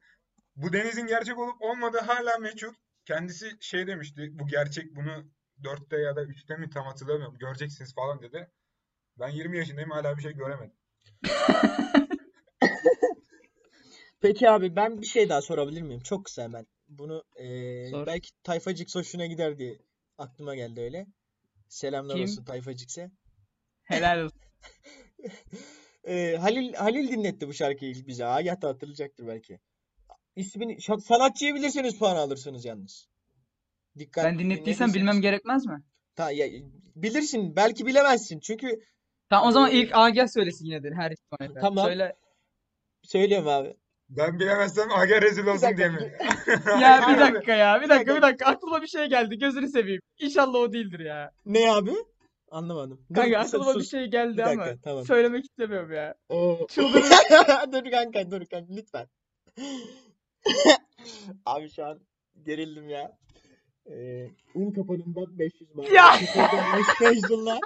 [SPEAKER 4] bu denizin gerçek olup olmadığı hala meçhul. Kendisi şey demişti, bu gerçek bunu dörtte ya da üçte mi tam hatırlamıyorum göreceksiniz falan dedi. Ben 20 yaşındayım hala bir şey göremedim.
[SPEAKER 3] Peki abi ben bir şey daha sorabilir miyim? Çok kısa hemen. Bunu eee,
[SPEAKER 2] Sor.
[SPEAKER 3] belki Tayfacık hoşuna gider diye aklıma geldi öyle. Selamlar
[SPEAKER 2] Kim?
[SPEAKER 3] olsun Tayfacik'se.
[SPEAKER 2] Helal olsun.
[SPEAKER 3] Eee, E, Halil Halil dinletti bu şarkıyı ilk bize. Hayat hatırlayacaktır belki. İsmini şa- sanatçıyı bilirseniz puan alırsınız yalnız. Dikkat
[SPEAKER 2] Ben dinlettiysen
[SPEAKER 3] dinlediyseniz.
[SPEAKER 2] bilmem gerekmez mi?
[SPEAKER 3] Ta, ya, bilirsin belki bilemezsin. Çünkü
[SPEAKER 2] Tamam o zaman
[SPEAKER 3] Ee,
[SPEAKER 2] ilk Agel söylesin yine de her ihtimalle.
[SPEAKER 3] Tamam.
[SPEAKER 2] Söyle.
[SPEAKER 3] söylüyorum abi.
[SPEAKER 4] Ben bilemezsem aga rezil olsun diye
[SPEAKER 3] dakika,
[SPEAKER 4] mi?
[SPEAKER 2] Ya
[SPEAKER 3] Aynen.
[SPEAKER 2] bir dakika ya bir dakika bir
[SPEAKER 3] Aynen.
[SPEAKER 2] dakika aklıma bir şey geldi gözünü seveyim. İnşallah o değildir ya.
[SPEAKER 3] Ne abi? Anlamadım. Dur,
[SPEAKER 2] Kanka
[SPEAKER 3] bir sus-
[SPEAKER 2] aklıma bir
[SPEAKER 3] sus.
[SPEAKER 2] şey
[SPEAKER 3] Bir
[SPEAKER 2] geldi ama
[SPEAKER 3] dakika tamam.
[SPEAKER 2] söylemek istemiyorum ya.
[SPEAKER 3] Oo.
[SPEAKER 2] Çıldırırım.
[SPEAKER 3] Dur kanka dur kanka lütfen. Abi şu an gerildim ya. Ee, un kapanından 500 var.
[SPEAKER 2] Ya!
[SPEAKER 3] Feyzullah.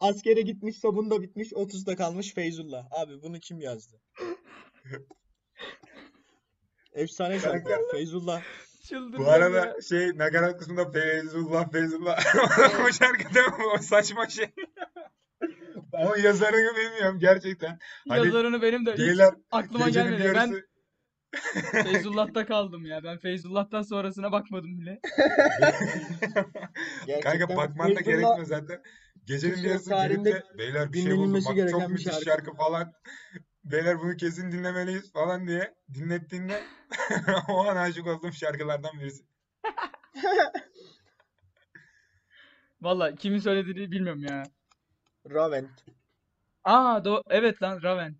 [SPEAKER 3] Askere gitmiş, sabun da bitmiş, 30'da kalmış Feyzullah. Abi bunu kim yazdı? Efsane şarkı.
[SPEAKER 4] Kanka.
[SPEAKER 3] Feyzullah.
[SPEAKER 2] Çıldırırım
[SPEAKER 4] Bu arada
[SPEAKER 2] ya.
[SPEAKER 4] şey nakarat kısmında Feyzullah Feyzullah o şarkıda o saçma şey. Ama yazarını bilmiyorum gerçekten. Hani
[SPEAKER 2] Yazarını benim de hiç
[SPEAKER 4] Geyler
[SPEAKER 2] aklıma
[SPEAKER 4] gecenin
[SPEAKER 2] gelmedi. Ben
[SPEAKER 4] yarısı
[SPEAKER 2] Feyzullah'ta kaldım ya. Ben Feyzullah'tan sonrasına bakmadım bile.
[SPEAKER 4] Kanka
[SPEAKER 3] Gerçekten
[SPEAKER 4] bakman da
[SPEAKER 3] Feyzullah
[SPEAKER 4] gerekmiyor zaten. Gecenin
[SPEAKER 3] Türkçe
[SPEAKER 4] bir yarısı
[SPEAKER 3] tarihinde
[SPEAKER 4] gelip de beyler bir şey buldum
[SPEAKER 3] dinlenilmesi
[SPEAKER 4] bak
[SPEAKER 3] gereken
[SPEAKER 4] çok
[SPEAKER 3] bir
[SPEAKER 4] müthiş
[SPEAKER 3] şarkı."
[SPEAKER 4] şarkı falan. Beyler bunu kesin dinlemeliyiz falan diye dinlettiğinde o an aşık olduğum şarkılardan birisi.
[SPEAKER 2] Valla kimin söylediğini bilmiyorum ya.
[SPEAKER 3] Ravent.
[SPEAKER 2] Aa do evet lan Raven.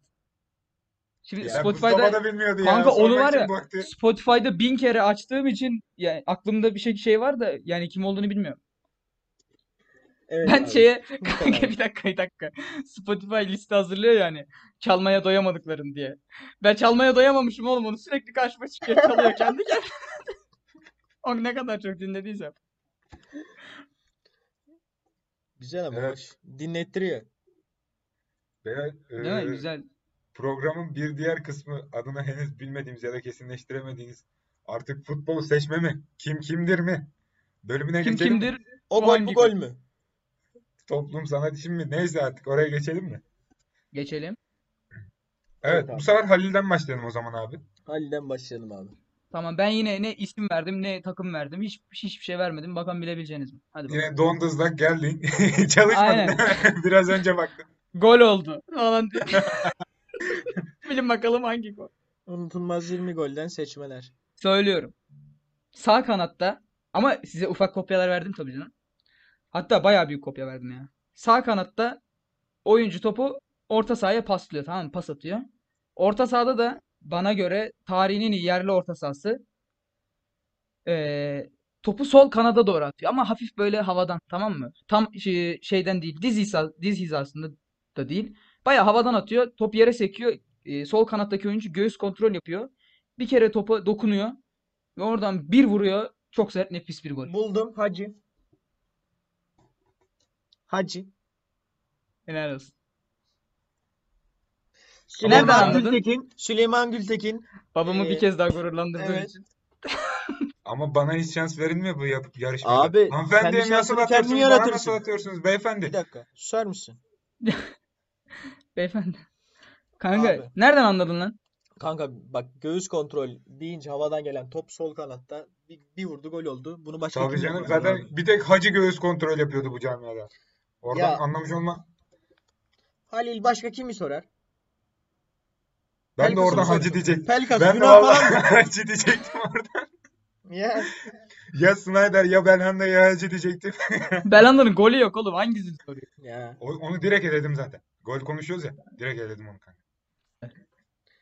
[SPEAKER 2] Şimdi
[SPEAKER 4] Ya Mustafa
[SPEAKER 2] Spotify'da
[SPEAKER 4] da bilmiyordu ya.
[SPEAKER 2] Kanka onu
[SPEAKER 4] Sonra
[SPEAKER 2] var
[SPEAKER 4] kim
[SPEAKER 2] ya
[SPEAKER 4] baktı?
[SPEAKER 2] Spotify'da bin kere açtığım için yani aklımda bir şey şey var da yani kim olduğunu bilmiyorum.
[SPEAKER 3] Evet
[SPEAKER 2] Ben şey-
[SPEAKER 3] abi.
[SPEAKER 2] şeye
[SPEAKER 3] Bu kadar.
[SPEAKER 2] kanka bir dakika bir dakika. Spotify liste hazırlıyor yani çalmaya doyamadıkların diye. Ben çalmaya doyamamışım oğlum onu sürekli karşıma çıkıyor çalıyor kendi kendine. O ne kadar çok dinlediysem.
[SPEAKER 3] Güzel ama
[SPEAKER 4] Evet.
[SPEAKER 3] hoş. Dinlettiriyor.
[SPEAKER 4] Beyler
[SPEAKER 2] Değil mi?
[SPEAKER 4] e,
[SPEAKER 2] Güzel.
[SPEAKER 4] programın bir diğer kısmı adına henüz bilmediğimiz ya da kesinleştiremediğiniz artık futbol seçme mi? Kim kimdir mi?
[SPEAKER 3] Ee,
[SPEAKER 4] Bölümüne
[SPEAKER 2] Kim
[SPEAKER 4] geçelim mi?
[SPEAKER 2] kimdir?
[SPEAKER 3] O
[SPEAKER 2] Bu
[SPEAKER 3] gol bu
[SPEAKER 2] hangi
[SPEAKER 3] gol
[SPEAKER 2] gol?
[SPEAKER 3] mü?
[SPEAKER 4] Toplum sanat için mi? Neyse artık oraya geçelim mi?
[SPEAKER 2] Geçelim.
[SPEAKER 3] Evet
[SPEAKER 4] Evet,
[SPEAKER 3] abi.
[SPEAKER 4] bu sefer Halil'den başlayalım o zaman abi.
[SPEAKER 3] Halil'den başlayalım abi.
[SPEAKER 2] Tamam ben yine ne isim verdim ne takım verdim. Hiç, hiçbir şey vermedim. Bakalım bilebileceğiniz mi? Hadi bakalım.
[SPEAKER 4] Yine donduzlak geldin. Çalışmadın
[SPEAKER 2] Aynen.
[SPEAKER 4] değil mi? Biraz önce baktın.
[SPEAKER 2] Gol oldu falan diye. Bilin bakalım hangi gol.
[SPEAKER 3] Unutulmaz 20 golden seçmeler.
[SPEAKER 2] Söylüyorum. Sağ kanatta ama size ufak kopyalar verdim tabii canım. Hatta bayağı büyük kopya verdim ya. Sağ kanatta oyuncu topu orta sahaya paslıyor tamam mı? Pas atıyor. Orta sahada da bana göre tarihinin iyi yerli orta sahası eee, topu sol kanada doğru atıyor ama hafif böyle havadan tamam mı? Tam şey- şeyden değil diz, hiza, diz hizasında da değil. Bayağı havadan atıyor. Top yere sekiyor. Eee, sol kanattaki oyuncu göğüs kontrol yapıyor. Bir kere topa dokunuyor ve oradan bir vuruyor. Çok sert nefis bir gol.
[SPEAKER 3] Buldum Hacı. Hacı.
[SPEAKER 2] Helal olsun.
[SPEAKER 3] Süleyman
[SPEAKER 2] Nereden anladın?
[SPEAKER 3] Gültekin. Süleyman Gültekin.
[SPEAKER 2] Babamı bir
[SPEAKER 3] Ee,
[SPEAKER 2] kez daha gururlandırdığım
[SPEAKER 3] evet.
[SPEAKER 2] için.
[SPEAKER 4] Ama bana hiç şans verilmiyor bu yap yarışmada.
[SPEAKER 3] Abi, kendi
[SPEAKER 4] Hanımefendiye nasıl
[SPEAKER 3] şansını kendin
[SPEAKER 4] atıyorsunuz? Bana
[SPEAKER 3] yaratırsın.
[SPEAKER 4] nasıl atıyorsunuz
[SPEAKER 3] Bir
[SPEAKER 4] beyefendi?
[SPEAKER 3] dakika. Susar mısın?
[SPEAKER 2] Beyefendi. Kanka
[SPEAKER 3] Abi.
[SPEAKER 2] nereden anladın lan?
[SPEAKER 3] Kanka bak göğüs kontrol deyince havadan gelen top sol kanatta bir, bir vurdu gol oldu. Bunu başka
[SPEAKER 4] Tabii
[SPEAKER 3] kim
[SPEAKER 4] canım
[SPEAKER 3] yapabilir
[SPEAKER 4] zaten
[SPEAKER 3] abi?
[SPEAKER 4] bir tek Hacı göğüs kontrol yapıyordu bu camiada. Oradan
[SPEAKER 3] Ya.
[SPEAKER 4] anlamış olma.
[SPEAKER 3] Halil başka kimi sorar?
[SPEAKER 4] Ben de
[SPEAKER 3] Pelkas'ı mı
[SPEAKER 4] oradan Hacı
[SPEAKER 3] soruyorsun?
[SPEAKER 4] diyecektim.
[SPEAKER 3] Pelkas
[SPEAKER 4] Ben de
[SPEAKER 3] günah
[SPEAKER 4] vallahi
[SPEAKER 3] falan mı?
[SPEAKER 4] Hacı diyecektim oradan.
[SPEAKER 3] Ya.
[SPEAKER 4] Ya Snyder ya Belhanda ya Hacı diyecektim.
[SPEAKER 2] Belanda'nın golü yok oğlum. Hangisini soruyor?
[SPEAKER 3] Ya.
[SPEAKER 4] O- Onu direkt eledim zaten. Gol konuşuyoruz ya. Direkt eledim onu kanka.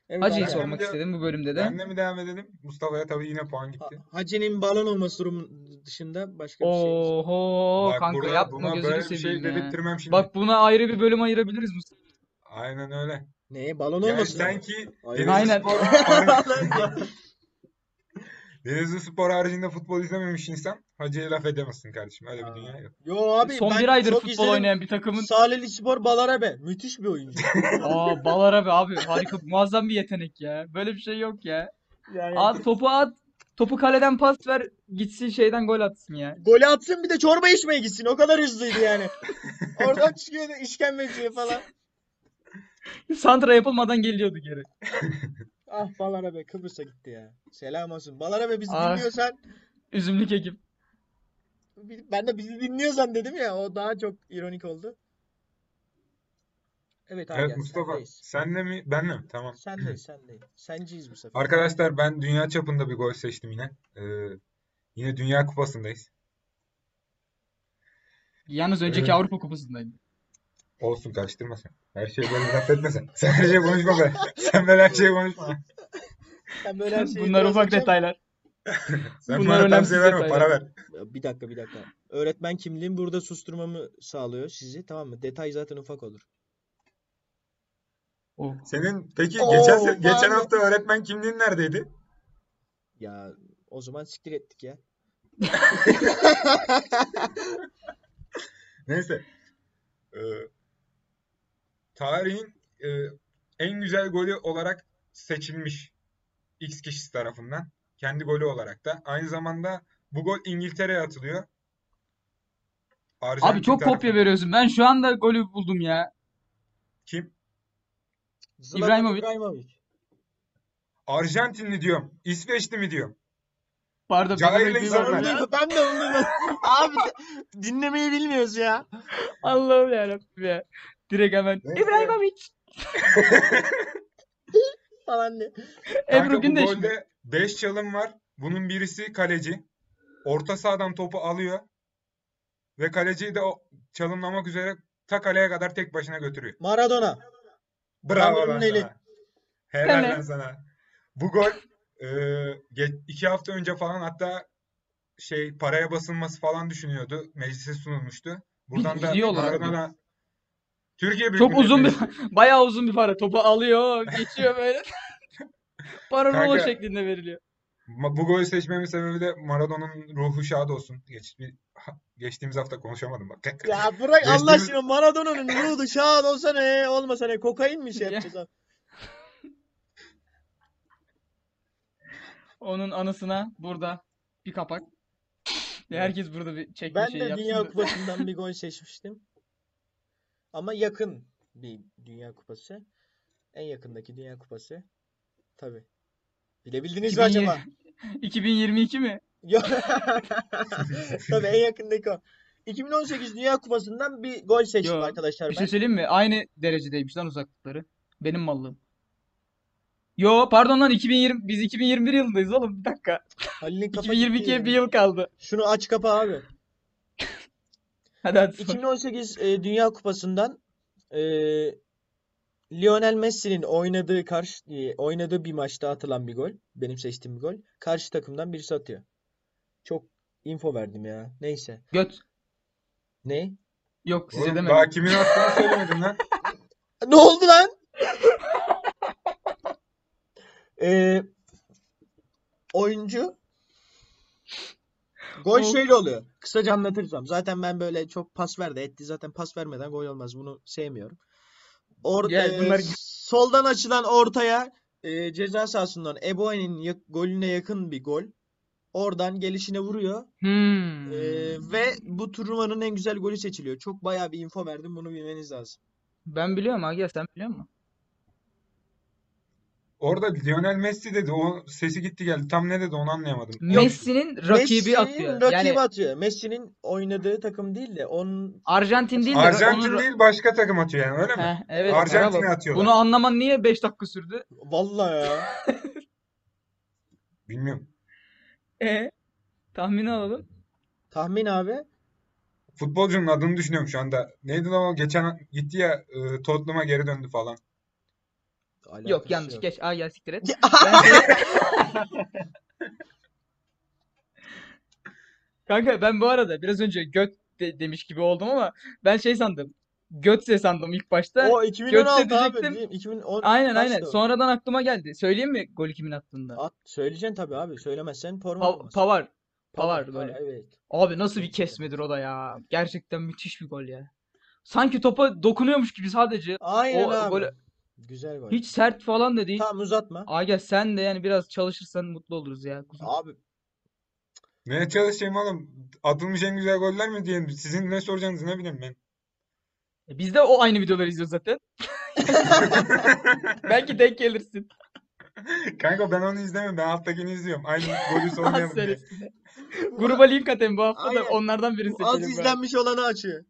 [SPEAKER 3] Evet
[SPEAKER 2] Hacı'yı
[SPEAKER 3] abi.
[SPEAKER 4] Ben de
[SPEAKER 2] sormak
[SPEAKER 4] bir de-
[SPEAKER 2] istedim bu bölümde de.
[SPEAKER 4] Ben de mi devam edelim? Mustafa'ya tabii yine puan
[SPEAKER 3] Ha-
[SPEAKER 4] gitti.
[SPEAKER 3] Hacı'nin balon olması durumu dışında başka bir şey.
[SPEAKER 2] Oho
[SPEAKER 4] Bak
[SPEAKER 2] kanka
[SPEAKER 4] burada
[SPEAKER 2] yapma
[SPEAKER 4] buna
[SPEAKER 2] gözünü
[SPEAKER 4] böyle bir şey
[SPEAKER 2] seveyim ya.
[SPEAKER 4] dedirtmem şimdi.
[SPEAKER 2] Bak buna ayrı bir bölüm ayırabiliriz Mustafa.
[SPEAKER 4] Aynen öyle.
[SPEAKER 3] Neye balon
[SPEAKER 4] Yani
[SPEAKER 3] olmasın
[SPEAKER 4] sen
[SPEAKER 3] ama.
[SPEAKER 4] ki
[SPEAKER 3] Aynen.
[SPEAKER 4] Denizli
[SPEAKER 2] Aynen.
[SPEAKER 4] Spor- Denizli Spor haricinde futbol izlememiş insan hacıya laf edemezsin kardeşim. Öyle bir
[SPEAKER 3] Aa.
[SPEAKER 4] dünya yok.
[SPEAKER 3] Yo abi
[SPEAKER 2] Son
[SPEAKER 3] ben
[SPEAKER 2] bir aydır
[SPEAKER 3] çok
[SPEAKER 2] futbol
[SPEAKER 3] izledim.
[SPEAKER 2] oynayan bir takımın
[SPEAKER 3] Salihli Spor Balarabe. Müthiş bir oyuncu.
[SPEAKER 2] Aa Balar abi abi harika muazzam bir yetenek ya. Böyle bir şey yok ya.
[SPEAKER 3] Yani
[SPEAKER 2] Abi topu at. Topu kaleden pas ver. Gitsin şeyden gol atsın ya.
[SPEAKER 3] golü atsın bir de çorba içmeye gitsin. O kadar hızlıydı yani. Oradan çıkıyordu işkembeciye falan.
[SPEAKER 2] Santra yapılmadan geliyordu geri.
[SPEAKER 3] Ah Balarabe Kıbrıs'a gitti ya. Selam olsun. Balarabe bizi
[SPEAKER 2] Ah.
[SPEAKER 3] dinliyorsan
[SPEAKER 2] Üzümlük ekip.
[SPEAKER 3] bi- ben de bizi dinliyorsan dedim ya o daha çok ironik oldu. Evet abi
[SPEAKER 4] Evet
[SPEAKER 3] gel,
[SPEAKER 4] Mustafa
[SPEAKER 3] sendeyiz.
[SPEAKER 4] senle mi benle mi? Tamam.
[SPEAKER 3] Sendeyiz sendeyiz. Senciyiz bu sefer.
[SPEAKER 4] Arkadaşlar ben dünya çapında bir gol seçtim yine. Ee, yine Dünya Kupası'ndayız.
[SPEAKER 2] Yalnız
[SPEAKER 4] Evet.
[SPEAKER 2] önceki Avrupa Kupası'ndaydı.
[SPEAKER 4] Olsun karıştırma sen. Her şeyi böyle laf etme sen. Sen her şeyi konuşma be. Sen böyle her şeyi konuşma.
[SPEAKER 3] Sen böyle her şeyi
[SPEAKER 2] Bunlar
[SPEAKER 3] biraz
[SPEAKER 2] ufak
[SPEAKER 3] açacağım.
[SPEAKER 2] detaylar.
[SPEAKER 4] Sen
[SPEAKER 2] Bunlar
[SPEAKER 4] bana
[SPEAKER 2] önemsiz
[SPEAKER 4] tavsiye verme,
[SPEAKER 2] detaylar.
[SPEAKER 4] para ver.
[SPEAKER 3] Bir dakika bir dakika. Öğretmen kimliğim burada susturmamı sağlıyor sizi tamam mı? Detay zaten ufak olur.
[SPEAKER 2] Oh.
[SPEAKER 4] Senin peki
[SPEAKER 3] Oo,
[SPEAKER 4] geçen se- geçen
[SPEAKER 3] pardon.
[SPEAKER 4] hafta öğretmen kimliğin neredeydi?
[SPEAKER 3] Ya o zaman siktir ettik ya.
[SPEAKER 4] Neyse. Ee, tarihin e, en güzel golü olarak seçilmiş X kişisi tarafından. Kendi golü olarak da. Aynı zamanda bu gol İngiltere'ye atılıyor.
[SPEAKER 2] Abi çok kopya
[SPEAKER 4] tarafından.
[SPEAKER 2] veriyorsun. Ben şu anda golü buldum ya.
[SPEAKER 4] Kim?
[SPEAKER 3] Zlatan
[SPEAKER 2] İbrahimovic.
[SPEAKER 3] İbrahimovic.
[SPEAKER 4] Arjantinli diyorum. İsveçli mi diyorum?
[SPEAKER 2] Pardon. ben
[SPEAKER 4] Cahil
[SPEAKER 2] de bir
[SPEAKER 4] insanlar.
[SPEAKER 2] bakıyorum.
[SPEAKER 4] Ya.
[SPEAKER 3] Ben de onu Abi de- dinlemeyi bilmiyoruz ya.
[SPEAKER 2] Allah'ım yarabbim ya. Direkt hemen.
[SPEAKER 4] Neyse.
[SPEAKER 2] İbrahimovic.
[SPEAKER 3] Falan diye.
[SPEAKER 4] Kanka
[SPEAKER 2] Ebru
[SPEAKER 4] bu
[SPEAKER 2] Gündeş mi?
[SPEAKER 4] golde 5 çalım var. Bunun birisi kaleci. Orta sahadan topu alıyor. Ve kaleciyi de o çalımlamak üzere ta kaleye kadar tek başına götürüyor.
[SPEAKER 3] Maradona.
[SPEAKER 4] Bravo
[SPEAKER 3] Adamların
[SPEAKER 4] lan
[SPEAKER 3] eli.
[SPEAKER 4] sana. Helal
[SPEAKER 2] Helal.
[SPEAKER 4] lan sana. Bu gol e, ge- iki hafta önce falan hatta şey paraya basılması falan düşünüyordu. Meclise sunulmuştu. Buradan da
[SPEAKER 2] İzliyorlar abi.
[SPEAKER 4] Maradona Türkiye Büyük
[SPEAKER 2] Çok
[SPEAKER 4] Millet
[SPEAKER 2] uzun bir
[SPEAKER 4] Meclisi.
[SPEAKER 2] bayağı uzun bir para. Topu alıyor, geçiyor böyle. Para rulo
[SPEAKER 4] Kanka-
[SPEAKER 2] şeklinde veriliyor.
[SPEAKER 4] Ma- Bu golü seçmemin sebebi de Maradona'nın ruhu şad olsun. Geç, bir- ha, geçtiğimiz hafta konuşamadım bak.
[SPEAKER 3] Ya bırak
[SPEAKER 4] Geçtiğimiz-
[SPEAKER 3] Allah aşkına Maradona'nın ruhu şahat olsa ne olmasa ne kokain mi şey
[SPEAKER 2] Ya.
[SPEAKER 3] yapacağız abi?
[SPEAKER 2] Onun anısına burada bir kapak. Herkes burada bir çekme
[SPEAKER 3] Ben
[SPEAKER 2] şey
[SPEAKER 3] de
[SPEAKER 2] yapsın
[SPEAKER 3] Dünya
[SPEAKER 2] da.
[SPEAKER 3] Kupası'ndan bir gol seçmiştim. Ama yakın bir Dünya Kupası. En yakındaki Dünya Kupası. Tabii. Bilebildiniz
[SPEAKER 2] 2020
[SPEAKER 3] mi acaba?
[SPEAKER 2] 2022 mi?
[SPEAKER 3] Yok. Tabii en yakındaki o. 2018 Dünya Kupası'ndan bir gol seçtim
[SPEAKER 2] Yo,
[SPEAKER 3] arkadaşlar
[SPEAKER 2] Bir şey
[SPEAKER 3] ben.
[SPEAKER 2] söyleyeyim mi? Aynı derecedeymiş lan uzaklıkları. Benim mallığım. Yo pardon lan 2020 biz 2021 yılındayız oğlum bir dakika.
[SPEAKER 3] Halil'in kafa gitti
[SPEAKER 2] 2022'ye
[SPEAKER 3] ya.
[SPEAKER 2] bir yıl kaldı.
[SPEAKER 3] Şunu aç kapa abi.
[SPEAKER 2] Hadi hadi sor.
[SPEAKER 3] 2018 e, Dünya Kupası'ndan e, Lionel Messi'nin oynadığı karşı e, oynadığı bir maçta atılan bir gol. Benim seçtiğim bir gol. Karşı takımdan birisi atıyor. Çok info verdim ya. Neyse.
[SPEAKER 2] Göt.
[SPEAKER 3] Ne?
[SPEAKER 2] Yok size
[SPEAKER 4] Oğlum
[SPEAKER 2] demedim.
[SPEAKER 4] daha kimin attığını söylemedin lan.
[SPEAKER 3] Ne oldu lan? E, oyuncu gol
[SPEAKER 2] Ol-
[SPEAKER 3] şöyle oluyor. Kısaca anlatırsam. Zaten ben böyle çok pas ver de etti. Zaten pas vermeden gol olmaz. Bunu sevmiyorum. Or
[SPEAKER 2] Ya
[SPEAKER 3] e,
[SPEAKER 2] bunlar-
[SPEAKER 3] soldan açılan ortaya e, ceza sahasından Eboe'nin ya- golüne yakın bir gol. Oradan gelişine vuruyor.
[SPEAKER 2] Hmm.
[SPEAKER 3] E, ve bu turnuvanın en güzel golü seçiliyor. Çok bayağı bir info verdim. Bunu bilmeniz lazım.
[SPEAKER 2] Ben biliyorum Agil sen biliyor musun?
[SPEAKER 4] Orada Lionel Messi dedi. O sesi gitti geldi. Tam ne dedi onu anlayamadım.
[SPEAKER 2] Messi'nin rakibi atıyor.
[SPEAKER 3] Messi'nin rakibi
[SPEAKER 2] Yani
[SPEAKER 3] atıyor. Messi'nin oynadığı takım değil de onun
[SPEAKER 2] Arjantin değil de
[SPEAKER 4] Arjantin
[SPEAKER 2] onun ra-
[SPEAKER 4] değil başka takım atıyor yani öyle mi?
[SPEAKER 2] Heh, evet
[SPEAKER 4] Arjantin'e
[SPEAKER 2] bravo.
[SPEAKER 4] atıyorlar.
[SPEAKER 2] Bunu anlaman niye 5 dakika sürdü?
[SPEAKER 3] Vallahi ya.
[SPEAKER 4] Bilmiyorum.
[SPEAKER 2] E tahmini alalım.
[SPEAKER 3] Tahmin abi.
[SPEAKER 4] Futbolcunun adını düşünüyorum şu anda. Neydi lan o geçen gitti ya e, Tottenham'a geri döndü falan.
[SPEAKER 3] Alakası
[SPEAKER 2] Yok yanlış geç. Aa gel siktir et.
[SPEAKER 3] Ya-
[SPEAKER 2] Ben seni- Kanka ben bu arada biraz önce göt de- demiş gibi oldum ama ben şey sandım. Götze sandım ilk başta.
[SPEAKER 3] O 2016 abi
[SPEAKER 2] diyecektim.
[SPEAKER 3] değil mi? 2010
[SPEAKER 2] Aynen aynen.
[SPEAKER 3] kaçtı o?
[SPEAKER 2] Sonradan aklıma geldi. Söyleyeyim mi gol kimin attığında?
[SPEAKER 3] At, söyleyeceksin tabii abi. Söylemezsen forma
[SPEAKER 2] Pa-
[SPEAKER 3] olmaz.
[SPEAKER 2] Pavar.
[SPEAKER 3] Pavar,
[SPEAKER 2] Pavar golü.
[SPEAKER 3] ha, evet.
[SPEAKER 2] Abi nasıl bir kesmedir o da ya. Gerçekten müthiş bir gol ya. Sanki topa dokunuyormuş gibi sadece.
[SPEAKER 3] Aynen
[SPEAKER 2] O
[SPEAKER 3] abi.
[SPEAKER 2] golü-
[SPEAKER 3] Güzel gol.
[SPEAKER 2] Hiç sert falan da değil.
[SPEAKER 3] Tamam uzatma.
[SPEAKER 2] Aga sen de yani biraz çalışırsan mutlu oluruz ya kuzum.
[SPEAKER 3] Abi
[SPEAKER 4] Ne çalışayım oğlum? Atılmış en güzel goller mi diyelim? Sizin ne soracağınızı ne bileyim ben.
[SPEAKER 2] E Biz de o aynı videoları izliyoruz zaten. Belki denk gelirsin.
[SPEAKER 4] Kanka ben onu izlemiyorum. Ben alttakini izliyorum. Aynı golü sormayalım diye.
[SPEAKER 2] Serisinde. Gruba link atayım bu hafta da
[SPEAKER 3] Aynen.
[SPEAKER 2] onlardan birini
[SPEAKER 3] bu az
[SPEAKER 2] seçelim bari.
[SPEAKER 3] izlenmiş olanı açıyor.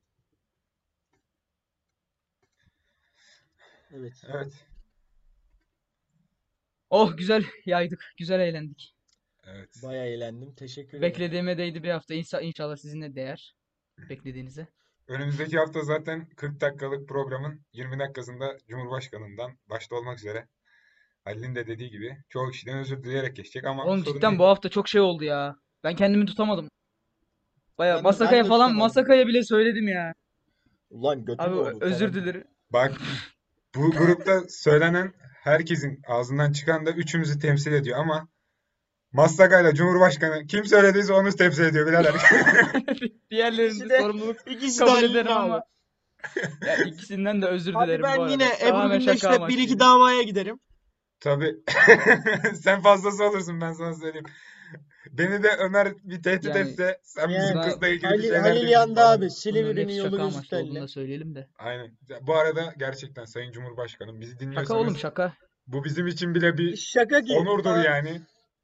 [SPEAKER 3] Evet.
[SPEAKER 4] Evet.
[SPEAKER 2] Oh güzel yaydık. Güzel eğlendik.
[SPEAKER 4] Evet.
[SPEAKER 3] Bayağı eğlendim. Teşekkür ederim.
[SPEAKER 2] Beklediğime değdi bir hafta. İnşallah, inşallah sizinle değer. Beklediğinize.
[SPEAKER 4] Önümüzdeki hafta zaten 40 dakikalık programın 20 dakikasında Cumhurbaşkanı'ndan başta olmak üzere Halil'in de dediği gibi çoğu kişiden özür dileyerek geçecek ama
[SPEAKER 2] Oğlum
[SPEAKER 4] sorun
[SPEAKER 2] cidden
[SPEAKER 4] değil.
[SPEAKER 2] bu hafta çok şey oldu ya. Ben kendimi tutamadım. Baya
[SPEAKER 3] Ben-
[SPEAKER 2] Masakaya
[SPEAKER 3] ben de
[SPEAKER 2] falan
[SPEAKER 3] tutamadım.
[SPEAKER 2] Masakaya bile söyledim ya.
[SPEAKER 3] Ulan götüm
[SPEAKER 2] Abi
[SPEAKER 3] oldu
[SPEAKER 2] özür
[SPEAKER 3] falan.
[SPEAKER 2] dilerim.
[SPEAKER 4] Bak bu grupta söylenen herkesin ağzından çıkan da üçümüzü temsil ediyor ama Massaka ile Cumhurbaşkanı kim söylediyse onu temsil ediyor birader.
[SPEAKER 2] Diğerlerinin
[SPEAKER 3] İkisi
[SPEAKER 2] de
[SPEAKER 3] de-
[SPEAKER 2] sorumluluk
[SPEAKER 3] İkisi de
[SPEAKER 2] kabul
[SPEAKER 3] halinde
[SPEAKER 2] ederim
[SPEAKER 3] abi.
[SPEAKER 2] ama ya ikisinden de özür
[SPEAKER 3] Abi
[SPEAKER 2] dilerim bu
[SPEAKER 3] ben
[SPEAKER 2] arada.
[SPEAKER 3] yine Ebru
[SPEAKER 2] Tamamen şaka
[SPEAKER 3] Gündeş'le bir
[SPEAKER 2] amaçlıydı.
[SPEAKER 3] iki davaya giderim.
[SPEAKER 4] Tabii. Sen fazlası olursun ben sana söyleyeyim. Beni de Ömer bir tehdit
[SPEAKER 2] Yani-
[SPEAKER 4] etse sen bizim
[SPEAKER 3] Yani-
[SPEAKER 4] kızla ilgili bir
[SPEAKER 3] Halil,
[SPEAKER 4] şeyler
[SPEAKER 3] Halil
[SPEAKER 4] dedin
[SPEAKER 3] yandı
[SPEAKER 4] falan.
[SPEAKER 3] abi.
[SPEAKER 2] Bunların
[SPEAKER 3] Silivri'nin
[SPEAKER 2] hepsi
[SPEAKER 3] yolu
[SPEAKER 2] şaka
[SPEAKER 3] gözü
[SPEAKER 2] amaçlı olduğunu
[SPEAKER 3] telli.
[SPEAKER 2] da söyleyelim de.
[SPEAKER 4] Aynen. Bu arada gerçekten Sayın Cumhurbaşkanım bizi
[SPEAKER 2] Şaka oğlum
[SPEAKER 4] dinliyorsanız
[SPEAKER 2] şaka.
[SPEAKER 4] bu bizim için bile bir
[SPEAKER 3] Şaka gibi.
[SPEAKER 4] onurdur
[SPEAKER 3] Aa,
[SPEAKER 4] yani.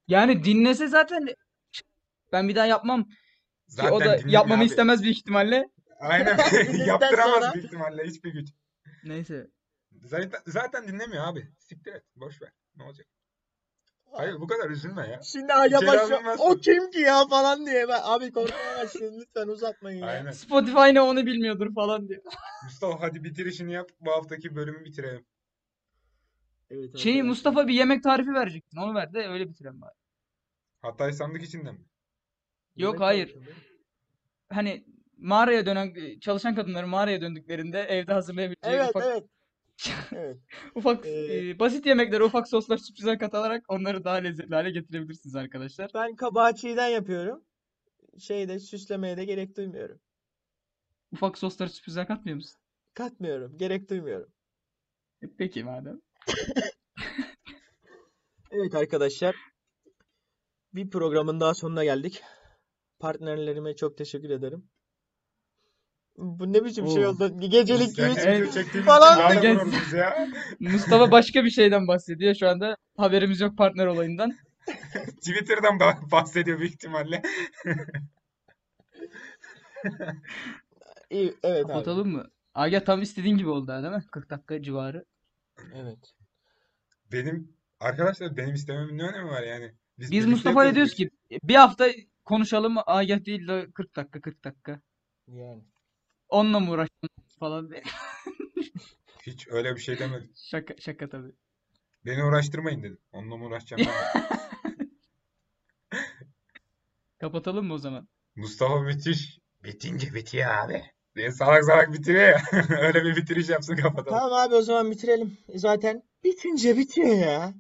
[SPEAKER 2] Yani dinlese zaten ben bir daha yapmam ki o
[SPEAKER 4] Zaten
[SPEAKER 2] da
[SPEAKER 4] dinleyin
[SPEAKER 2] yapmamı
[SPEAKER 4] abi.
[SPEAKER 2] istemez büyük ihtimalle.
[SPEAKER 4] Aynen.
[SPEAKER 3] Bizden
[SPEAKER 4] Yaptıramaz
[SPEAKER 3] sonra.
[SPEAKER 4] büyük ihtimalle hiçbir güç.
[SPEAKER 2] Neyse.
[SPEAKER 4] Zaten, zaten dinlemiyor abi. Siktir et. Boş ver. Ne olacak? Hayır bu kadar üzülme ya.
[SPEAKER 3] Şimdi acaba
[SPEAKER 4] Celal
[SPEAKER 3] şu-
[SPEAKER 4] Yılmaz-
[SPEAKER 3] o kim ki ya falan diye. Ben, abi korkmaya başladım lütfen uzatmayın ya.
[SPEAKER 4] Aynen.
[SPEAKER 2] Spotify ne onu bilmiyordur falan diyor.
[SPEAKER 4] Mustafa hadi bitirişini yap. Bu haftaki bölümü bitirelim.
[SPEAKER 3] Evet,
[SPEAKER 2] Şey
[SPEAKER 3] arkadaşlar.
[SPEAKER 2] Mustafa bir yemek tarifi verecektin. Onu ver de öyle bitirelim bari.
[SPEAKER 4] Hatay sandık içinde mi?
[SPEAKER 2] Yok,
[SPEAKER 3] Yemek
[SPEAKER 2] hayır.
[SPEAKER 3] yapıyorum ya.
[SPEAKER 2] Hani mağaraya dönen e, çalışan kadınların mağaraya döndüklerinde evde hazırlayabileceği
[SPEAKER 3] Evet
[SPEAKER 2] ufak
[SPEAKER 3] evet. Evet.
[SPEAKER 2] ufak
[SPEAKER 3] Ee,
[SPEAKER 2] e, basit yemeklere ufak soslar sürprizler katılarak onları daha lezzetli hale getirebilirsiniz arkadaşlar.
[SPEAKER 3] Ben kabağı çiğden yapıyorum. Şeyde süslemeye de gerek duymuyorum.
[SPEAKER 2] Ufak soslar sürprizler katmıyor musun?
[SPEAKER 3] Katmıyorum. Gerek duymuyorum.
[SPEAKER 2] E, Peki madem.
[SPEAKER 3] Evet arkadaşlar. Bir programın daha sonuna geldik. Partnerlerime çok teşekkür ederim. Bu ne biçim şey
[SPEAKER 2] Oo.
[SPEAKER 3] oldu? Gecelik
[SPEAKER 4] Sen
[SPEAKER 3] gibi.
[SPEAKER 2] Evet.
[SPEAKER 4] video çektiğin için
[SPEAKER 3] Falan
[SPEAKER 4] daha da
[SPEAKER 2] Gel-
[SPEAKER 4] gururluyuz ya.
[SPEAKER 2] Mustafa başka bir şeyden bahsediyor şu anda. Haberimiz yok partner olayından.
[SPEAKER 4] Twitter'dan bah- bahsediyor büyük ihtimalle.
[SPEAKER 3] İyi, evet abi.
[SPEAKER 2] Kapatalım mı? Aga tam istediğin gibi oldu ha, değil mi? 40 dakika civarı.
[SPEAKER 3] Evet.
[SPEAKER 4] Benim arkadaşlar benim istememin ne önemi var yani? Biz
[SPEAKER 2] Biz
[SPEAKER 4] birlikte
[SPEAKER 2] Mustafa'ya
[SPEAKER 4] yapıyoruz
[SPEAKER 2] diyoruz
[SPEAKER 4] bu işi.
[SPEAKER 2] ki bir hafta konuşalım Aga değil de 40 dakika 40 dakika.
[SPEAKER 3] Yani.
[SPEAKER 2] Onunla mı uğraştın falan diye.
[SPEAKER 4] Hiç öyle bir şey demedim.
[SPEAKER 2] Şaka, şaka tabii.
[SPEAKER 4] Beni uğraştırmayın dedim. Onunla mı uğraşacağım ben?
[SPEAKER 2] Kapatalım mı o zaman?
[SPEAKER 4] Mustafa müthiş. Bitince bitiyor abi. Diye salak salak bitiriyor ya. Öyle bir bitiriş yapsın kapatalım.
[SPEAKER 3] Tamam abi o zaman bitirelim. Zaten bitince bitiyor ya.